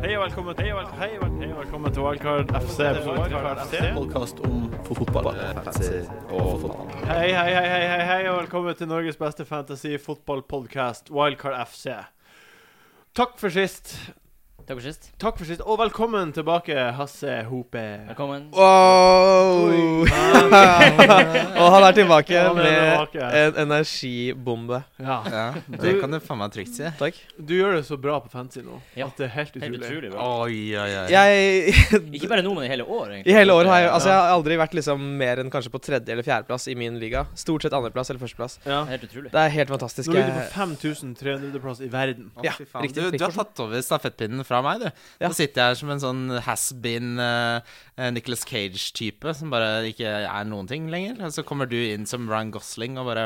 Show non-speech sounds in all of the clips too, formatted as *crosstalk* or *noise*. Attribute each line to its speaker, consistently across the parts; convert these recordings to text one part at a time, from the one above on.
Speaker 1: Hei og velkommen til Wildcard Hei og vel- hei og velkommen til Wildcard FC. Wildcard FC.
Speaker 2: Podkast om fotball.
Speaker 1: Hei, hei, hei, hei, hei, hei, og velkommen til Norges beste fantasy-fotballpodkast, Wildcard FC. Takk for sist.
Speaker 3: Takk for sist.
Speaker 1: Takk for sist, og velkommen tilbake, Hasse Hope.
Speaker 3: Velkommen.
Speaker 2: *laughs*
Speaker 4: Wow! *laughs* Og han er tilbake
Speaker 1: Han er
Speaker 4: med
Speaker 1: tilbake.
Speaker 4: en energibombe.
Speaker 1: Ja.
Speaker 2: Ja, det kan du faen meg trygt si.
Speaker 4: Takk.
Speaker 1: Du gjør det så bra på fancy nå
Speaker 3: Ja.
Speaker 1: at det er helt
Speaker 3: Helt
Speaker 1: utrolig.
Speaker 3: utrolig bra.
Speaker 2: Oi, oi, oi.
Speaker 4: Jeg
Speaker 3: Ikke bare nå, men i hele år, egentlig.
Speaker 4: I hele år har jeg Altså, jeg har aldri vært liksom mer enn kanskje på tredje- eller fjerdeplass i min liga. Stort sett andreplass eller førsteplass.
Speaker 1: Ja.
Speaker 3: Helt utrolig.
Speaker 4: Det er helt fantastisk.
Speaker 1: Nå ligger du
Speaker 4: Jeg-
Speaker 1: på 5300.-plass i verden.
Speaker 2: Å,
Speaker 4: Ja,
Speaker 2: fy faen.
Speaker 4: riktig,
Speaker 2: du, du har
Speaker 4: riktig.
Speaker 2: tatt over stafettpinnen fra meg, du.
Speaker 4: Ja.
Speaker 2: Nå sitter jeg her som en sånn has-been Nicholas Cage-type som bare ikke er noen ting lenger. Og så kommer du inn som Ryan Gosling og bare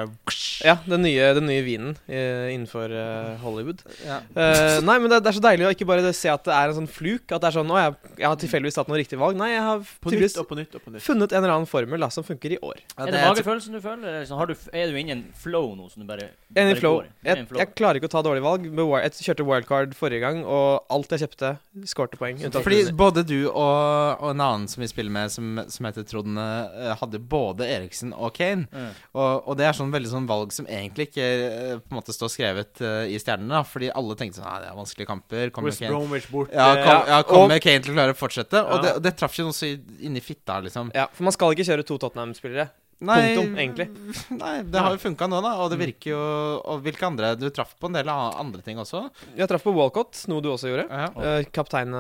Speaker 4: Ja, den nye, den nye vinen eh, innenfor eh, Hollywood.
Speaker 2: Ja.
Speaker 4: Eh, nei, men det, det er så deilig å ikke bare se at det er en sånn fluk. At det er sånn Å, jeg, jeg har tilfeldigvis tatt noe riktig valg. Nei, jeg har
Speaker 1: På nytt
Speaker 4: tydeligvis
Speaker 1: og på nytt og på nytt.
Speaker 4: funnet en eller annen formel da, som funker i år.
Speaker 2: Ja,
Speaker 3: er det magefølelsen du føler? Eller liksom, har du, er du inne i en flow nå som du bare
Speaker 4: Jeg er
Speaker 3: bare
Speaker 4: i flow.
Speaker 3: går Du er
Speaker 4: Jeg,
Speaker 3: inne i en flow.
Speaker 4: jeg klarer ikke å ta dårlige valg. Med wi- Jeg kjørte wildcard forrige gang, og alt jeg kjøpte, skårte poeng. unntatt
Speaker 2: Fordi
Speaker 4: Rune.
Speaker 2: både du og, og en annen som vi spiller med, som, som heter Trond, eh, hadde både Eriksen og Kane.
Speaker 3: Mm.
Speaker 2: Og, og det er sånn veldig sånn valg som egentlig ikke eh, på en måte står skrevet eh, i stjernene, da. Fordi alle tenkte sånn Nei, det er vanskelige kamper. Kommer
Speaker 1: West
Speaker 2: Kane
Speaker 1: Bromwich bort.
Speaker 2: ja,
Speaker 1: eh,
Speaker 2: kom, ja, kommer
Speaker 4: og-
Speaker 2: Kane til å klare å fortsette?
Speaker 1: Ja.
Speaker 2: Og det, og det traff jo noe så inni fitta, liksom.
Speaker 4: Ja, for man skal ikke kjøre to Tottenham-spillere. Punktum, egentlig.
Speaker 2: Nei, det har jo funka nå, da. Og det virker jo Og hvilke andre Du traff på en del a- andre ting også.
Speaker 4: Jeg traff på Walcott, noe du også gjorde.
Speaker 2: Ja.
Speaker 4: Uh,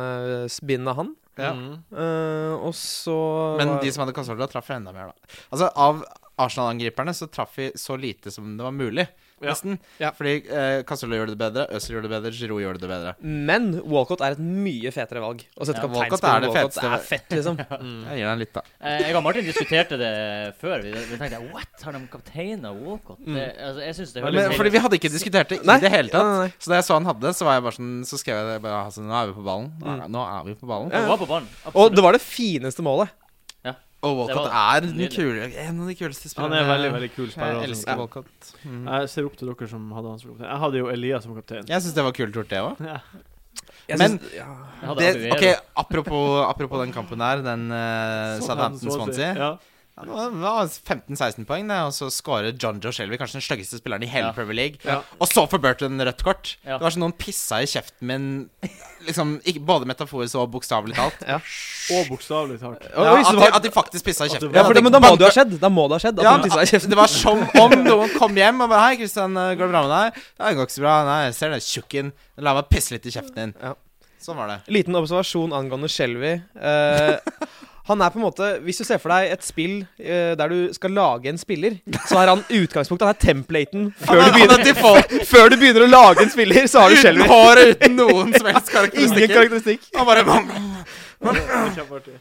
Speaker 4: Kapteinbindet han.
Speaker 2: Ja.
Speaker 1: Mm.
Speaker 4: Eh, og så
Speaker 2: Men de som hadde Casorla, traff enda mer, da. Altså, av Arsenal-angriperne så traff vi så lite som det var mulig,
Speaker 1: Ja.
Speaker 2: nesten.
Speaker 4: Ja.
Speaker 2: Fordi eh, Casorla gjorde det bedre, Øzil gjorde det bedre, Giroud gjorde det bedre.
Speaker 4: Men Walcott er et mye fetere valg. Å sette
Speaker 3: Ja,
Speaker 4: kapteinspiller
Speaker 2: Walcott er det
Speaker 4: på Walcott
Speaker 2: feteste.
Speaker 4: er fett, liksom.
Speaker 2: *laughs* Jeg gir deg litt, da.
Speaker 3: Eh, Jeg og Martin diskuterte det før. Vi, vi tenkte What? Har de kapteina Walcott?
Speaker 4: Mm.
Speaker 3: Det, altså, jeg syns det høres
Speaker 2: Men,
Speaker 3: helt-
Speaker 2: fordi vi hadde ikke diskutert det i
Speaker 4: Nei.
Speaker 2: det hele tatt.
Speaker 4: Nei, nei, nei.
Speaker 2: Så da jeg så han hadde, så var jeg bare sånn Så skrev jeg bare altså, Nå er vi på ballen. Nå er, nå er vi på ballen.
Speaker 3: Han var på banen.
Speaker 4: Og
Speaker 3: Absolutt.
Speaker 4: det var det fineste målet.
Speaker 2: Og Walcott
Speaker 3: Det var
Speaker 2: er den
Speaker 3: nydelig.
Speaker 2: kule, en av de kuleste
Speaker 1: Han
Speaker 2: spillerne.
Speaker 1: er en veldig, veldig kul spiller.
Speaker 2: Jeg
Speaker 1: altså.
Speaker 2: elsker Walcott. Mm.
Speaker 1: Jeg ser opp til dere som hadde han som kaptein. Jeg hadde jo Elias som kaptein.
Speaker 2: Jeg syns det var kult gjort, det òg.
Speaker 1: Ja.
Speaker 4: Jeg
Speaker 2: Men-
Speaker 4: synes- ja.
Speaker 3: Jeg hadde Aguero.
Speaker 2: Ok, apropos, apropos den kampen der, den uh, Southampton-Swansea.
Speaker 1: Sånn, Ja.
Speaker 2: Ja, Det var- det var 15-16 poeng, det, og så skårer John Joe Shelby, kanskje den styggeste spilleren i hele
Speaker 3: Ja.
Speaker 2: Premier League.
Speaker 1: Ja.
Speaker 2: Og så får Burton rødt kort.
Speaker 3: Ja.
Speaker 2: Det var som noen pissa i kjeften min, liksom, ikke, både metaforisk og bokstavelig talt.
Speaker 4: Ja.
Speaker 1: Og bokstavelig
Speaker 2: *laughs*
Speaker 1: talt.
Speaker 4: Oi,
Speaker 2: Ja,
Speaker 4: oi, så
Speaker 2: at,
Speaker 4: var-
Speaker 2: de, at de faktisk pissa i
Speaker 1: At det
Speaker 2: kjeften.
Speaker 1: var-
Speaker 4: ja, for det, men da må det jo ha skjedd. Da må det ha skjedd. At
Speaker 2: Ja,
Speaker 4: han tisset i kjeften.
Speaker 2: det var som om noen kom hjem og bare 'Hei, Kristian, går det bra med deg?' 'Ja, det går ikke så bra.' 'Nei, jeg ser det, tjukken. La meg pisse litt i kjeften din.'
Speaker 4: Ja.
Speaker 2: Sånn var det.
Speaker 4: Liten observasjon angående Shelby. Eh,
Speaker 2: *laughs*
Speaker 4: han er på en måte Hvis du ser for deg et spill eh, der du skal lage en spiller, så er han utgangspunktet. Han er templaten.
Speaker 2: Han
Speaker 4: Før
Speaker 2: er,
Speaker 4: du
Speaker 2: han
Speaker 4: begynner,
Speaker 2: er default
Speaker 4: *laughs* før du begynner å lage en spiller, så har du
Speaker 2: uten
Speaker 4: Shelby.
Speaker 2: hår og uten noen som helst
Speaker 4: Ingen
Speaker 2: karakteristikker.
Speaker 4: karakteristikk.
Speaker 2: Han bare,
Speaker 1: Kjempeartig.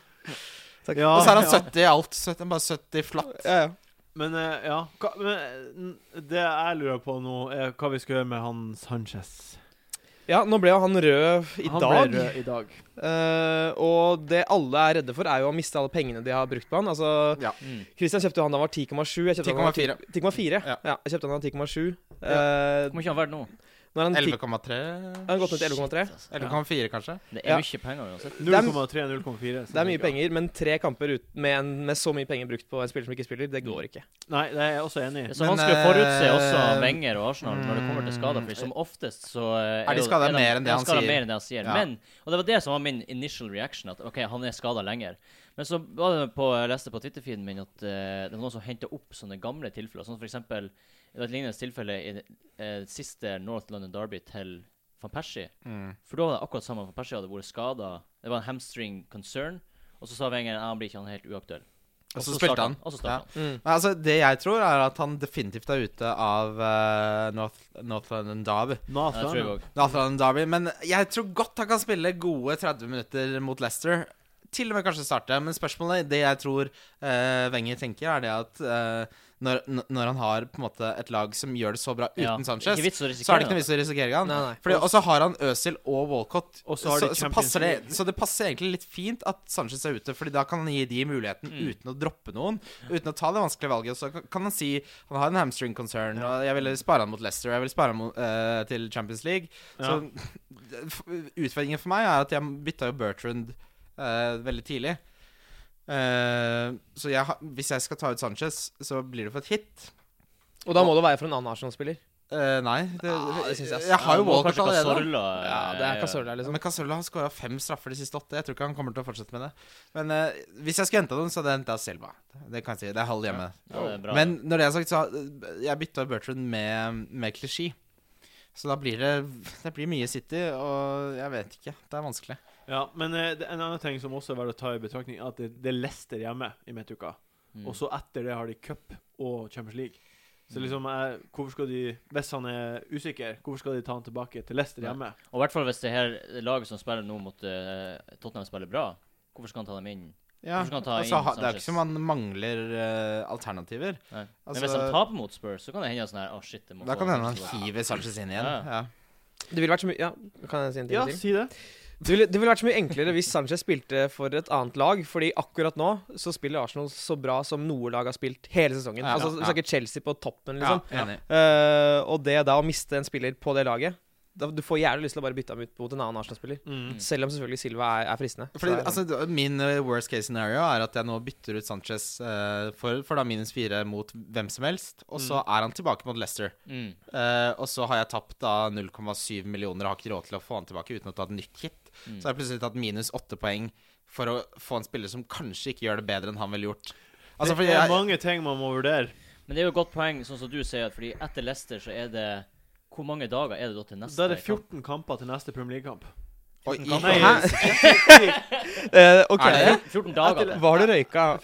Speaker 1: Ja,
Speaker 2: og så er han
Speaker 1: ja.
Speaker 2: 70 i alt. 70, bare 70 flatt.
Speaker 4: Ja, ja.
Speaker 1: Men eh, ja hva, men, eh, n- Det jeg lurer på nå, er hva vi skal gjøre med han Sanchez.
Speaker 4: ja, nå ble jo han rød i
Speaker 1: han
Speaker 4: dag.
Speaker 1: ble rød i dag.
Speaker 4: Eh, og det alle er redde for, er jo å miste alle pengene de har brukt på han. Altså,
Speaker 3: Mm.
Speaker 4: Christian kjøpte jo han da han var 10,7. Jeg kjøpte han da han
Speaker 2: 10,4.
Speaker 4: var 10,4.
Speaker 2: Ja.
Speaker 4: Ja. jeg kjøpte han da han var 10,7.
Speaker 3: Hvor
Speaker 4: Eh,
Speaker 3: mye har han vært nå?
Speaker 4: nå er han 10
Speaker 2: 11,3
Speaker 4: han har gått ned til 11,3.
Speaker 3: Altså.
Speaker 2: 11,4, kanskje?
Speaker 3: Det er
Speaker 4: Ja.
Speaker 3: mye penger uansett.
Speaker 1: 0,3-0,4.
Speaker 4: Det er mye penger, men tre kamper ut med, en, med så mye penger brukt på en spiller som ikke spiller, det går ikke.
Speaker 1: Nei, det er jeg også enig i.
Speaker 3: Det er så
Speaker 2: Men,
Speaker 3: vanskelig å forutse
Speaker 2: eh,
Speaker 3: også Wenger og Arsenal når det kommer til skader.
Speaker 2: mm,
Speaker 3: Fordi som oftest så eh,
Speaker 2: Er de
Speaker 3: jo-
Speaker 2: skadet mer enn det
Speaker 3: ja,
Speaker 2: han
Speaker 3: skadet
Speaker 2: sier?
Speaker 3: Mer enn det han sier.
Speaker 2: Ja.
Speaker 3: Men, og det var det som var min initial reaction, at OK, han er skada lenger. Men så var det på, jeg leste på Twitter-feeden min at eh, det var noen som henta opp sånne gamle tilfeller. Sånn for eksempel det var et lignende tilfelle i eh, siste North London Derby til van Persie.
Speaker 2: Mm.
Speaker 3: For da var det akkurat samme, for Persie hadde vært skada. Det var en hamstring concern. Og så sa Wenger at han blir ikke han helt uaktuell.
Speaker 2: Og så
Speaker 3: startet
Speaker 2: spilte han.
Speaker 3: Og så
Speaker 2: Ja.
Speaker 3: starta han.
Speaker 4: Mm.
Speaker 2: Nei, altså, det jeg tror, er at han definitivt er ute av eh, North, North London Derby.
Speaker 3: Ja, det tror jeg
Speaker 1: Nathan.
Speaker 3: også.
Speaker 2: North London Derby. Men jeg tror godt han kan spille gode 30 minutter mot Leicester. til og med kanskje starte. Men spørsmålet, det jeg tror eh, Wenger tenker, er det at eh, når, n- når han har på en måte et lag som gjør det så bra uten
Speaker 3: Ja,
Speaker 2: Sanchez,
Speaker 3: ikke vits å risikere
Speaker 2: så er det
Speaker 3: det.
Speaker 2: ikke noe vits å risikere han.
Speaker 4: Nei, nei.
Speaker 2: Fordi, og så har han Øsil og Walcott,
Speaker 1: Og så
Speaker 2: så,
Speaker 1: har de
Speaker 2: så,
Speaker 1: Champions
Speaker 2: passer det, så det passer egentlig litt fint at Sanchez er ute, Fordi da kan han gi de muligheten uten å droppe noen. Uten å ta det vanskelige valget. Og Så kan- kan han si han har en hamstring concern, og jeg ville spare han mot Leicester, og jeg ville spare han mot, eh, til Champions League.
Speaker 1: Ja.
Speaker 2: Så *laughs* f- utfordringen for meg er at jeg bytta jo Bertrand eh, veldig tidlig. Eh, så jeg, har- hvis jeg skal ta ut Sanchez, så blir det for et hit.
Speaker 4: Og da må det være for en annen Arsenal-spiller.
Speaker 2: Eh, nei, det,
Speaker 4: Ah, det synes jeg-
Speaker 2: jeg, har jo
Speaker 3: Ja, nå
Speaker 2: Walcott
Speaker 3: kanskje
Speaker 2: allerede.
Speaker 3: Cazorla,
Speaker 4: Ja, det er
Speaker 3: eh,
Speaker 4: Casorla, liksom.
Speaker 2: Men Casola har skåra fem straffer de siste åtte. Jeg tror ikke han kommer til å fortsette med det. Men eh, hvis jeg skulle henta noen, så hadde jeg henta Selva. Det kan jeg si. Det er halv hjemme.
Speaker 3: ja, det er bra.
Speaker 2: Men når det er sagt, så har- Jeg bytta Bertrand med, med klisjé. Så da blir det Det blir mye City, og jeg vet ikke. Det er vanskelig.
Speaker 1: Ja, men eh, det, en annen ting som også er verdt å ta i betraktning, er at det, det er Leicester hjemme i midtuka.
Speaker 3: Mm.
Speaker 1: Og så etter det har de cup og Champions League. Så
Speaker 2: Mm.
Speaker 1: liksom, jeg, hvorfor skal de Hvis han er usikker, hvorfor skal de ta han tilbake til Leicester
Speaker 3: Nei.
Speaker 1: hjemme?
Speaker 3: Og i hvert fall hvis det her laget som spiller nå mot eh, Tottenham, spiller bra. Hvorfor skal han ta dem inn?
Speaker 2: Ja,
Speaker 3: Hvorfor skal han ta
Speaker 2: altså,
Speaker 3: inn
Speaker 2: ha- Det er jo
Speaker 3: Sanchez?
Speaker 2: ikke som han mangler eh, alternativer.
Speaker 3: Nei.
Speaker 2: Altså,
Speaker 3: Men hvis han taper mot Spurs, så kan det hende sånn her Å, shit, det må
Speaker 2: da
Speaker 3: få
Speaker 2: kan det hende
Speaker 3: Sanchez
Speaker 2: han hiver Sanchez inn igjen.
Speaker 3: Ja.
Speaker 2: Ja.
Speaker 4: Det ville vært så mye Ja, kan jeg si en ting
Speaker 1: Ja,
Speaker 4: til?
Speaker 1: si det.
Speaker 4: Det ville, det ville vært så mye enklere hvis Sanchez spilte for et annet lag, fordi akkurat nå så spiller Arsenal så bra som noe lag har spilt hele sesongen.
Speaker 2: Ja,
Speaker 4: altså, Vi
Speaker 2: ja, ja.
Speaker 4: snakker Chelsea på toppen,
Speaker 2: Ja,
Speaker 4: liksom.
Speaker 2: enig.
Speaker 4: Eh, og det da å miste en spiller på det laget da, Du får gjerne lyst til å bare bytte ham ut mot en annen Arsenal-spiller.
Speaker 1: Mm.
Speaker 4: Selv om selvfølgelig Silva er, *laughs* er fristende. Så
Speaker 2: Fordi,
Speaker 4: det er sånn.
Speaker 2: altså, d- min eh, worst case scenario er at jeg nå bytter ut Sanchez eh, for, for da minus fire mot hvem som helst, og så er han tilbake mot Leicester.
Speaker 3: Mm.
Speaker 2: Eh, og så har jeg tapt da 0,7 millioner og har ikke råd til å få han tilbake uten å ta et nytt hit.
Speaker 3: Mm.
Speaker 2: Så har jeg plutselig tatt minus åtte poeng for å få en spiller som kanskje ikke gjør det bedre enn han ville gjort. Altså, fordi
Speaker 1: det er
Speaker 2: jeg,
Speaker 1: mange ting man må vurdere.
Speaker 3: Men det er jo et godt poeng, sånn som du sier, at fordi etter Leicester så er det Hvor mange dager er det da til neste?
Speaker 1: Da er det
Speaker 3: kamp?
Speaker 1: 14 kamper til neste Premier
Speaker 2: *laughs*
Speaker 1: League-kamp.
Speaker 2: Oi, i-
Speaker 1: Nei,
Speaker 4: Hæ? Eh, ok.
Speaker 2: Er det
Speaker 3: 14 dager.
Speaker 4: Hva har du røyka? Har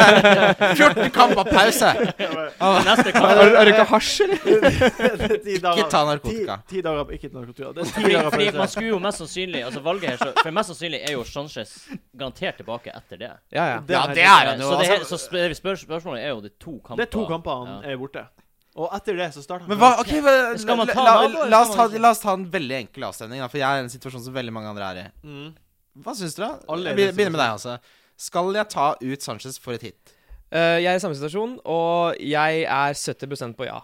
Speaker 2: 14 kamper pause! *laughs*
Speaker 3: Neste
Speaker 4: *laughs*
Speaker 3: kamp.
Speaker 4: du har du røyka hasj, eller?
Speaker 1: Ikke
Speaker 2: Ikke ta narkotika.
Speaker 1: Ti, ti dager ikke narkotika. Det er ti
Speaker 3: Fordi,
Speaker 1: dager
Speaker 3: fordi man
Speaker 1: pause.
Speaker 3: skulle jo mest sannsynlig Altså valget her så, For mest sannsynlig er jo Sanchez garantert tilbake etter det.
Speaker 4: Ja, ja.
Speaker 2: Ja,
Speaker 1: her-
Speaker 2: det er han jo.
Speaker 3: Så, det her,
Speaker 2: altså.
Speaker 3: så spør, spør, spørsmålet er jo de to kamper.
Speaker 1: Det er to kamper han
Speaker 3: Ja.
Speaker 1: er borte. Og etter det så starter han
Speaker 2: Men hva, ok, hva-
Speaker 3: Skal man ta
Speaker 2: la,
Speaker 3: han av,
Speaker 2: la,
Speaker 3: eller
Speaker 2: la, oss
Speaker 3: skal
Speaker 2: ta,
Speaker 3: man ikke?
Speaker 2: la oss ta en veldig enkel avstemning, da, for jeg er i en situasjon som veldig mange andre er i.
Speaker 1: Mm.
Speaker 2: Hva syns dere?
Speaker 1: Alle er i
Speaker 2: Jeg
Speaker 1: den
Speaker 2: begynner med deg, altså. Skal jeg ta ut Sanchez for et hit?
Speaker 4: Eh, jeg er i samme situasjon, og jeg er 70 på ja.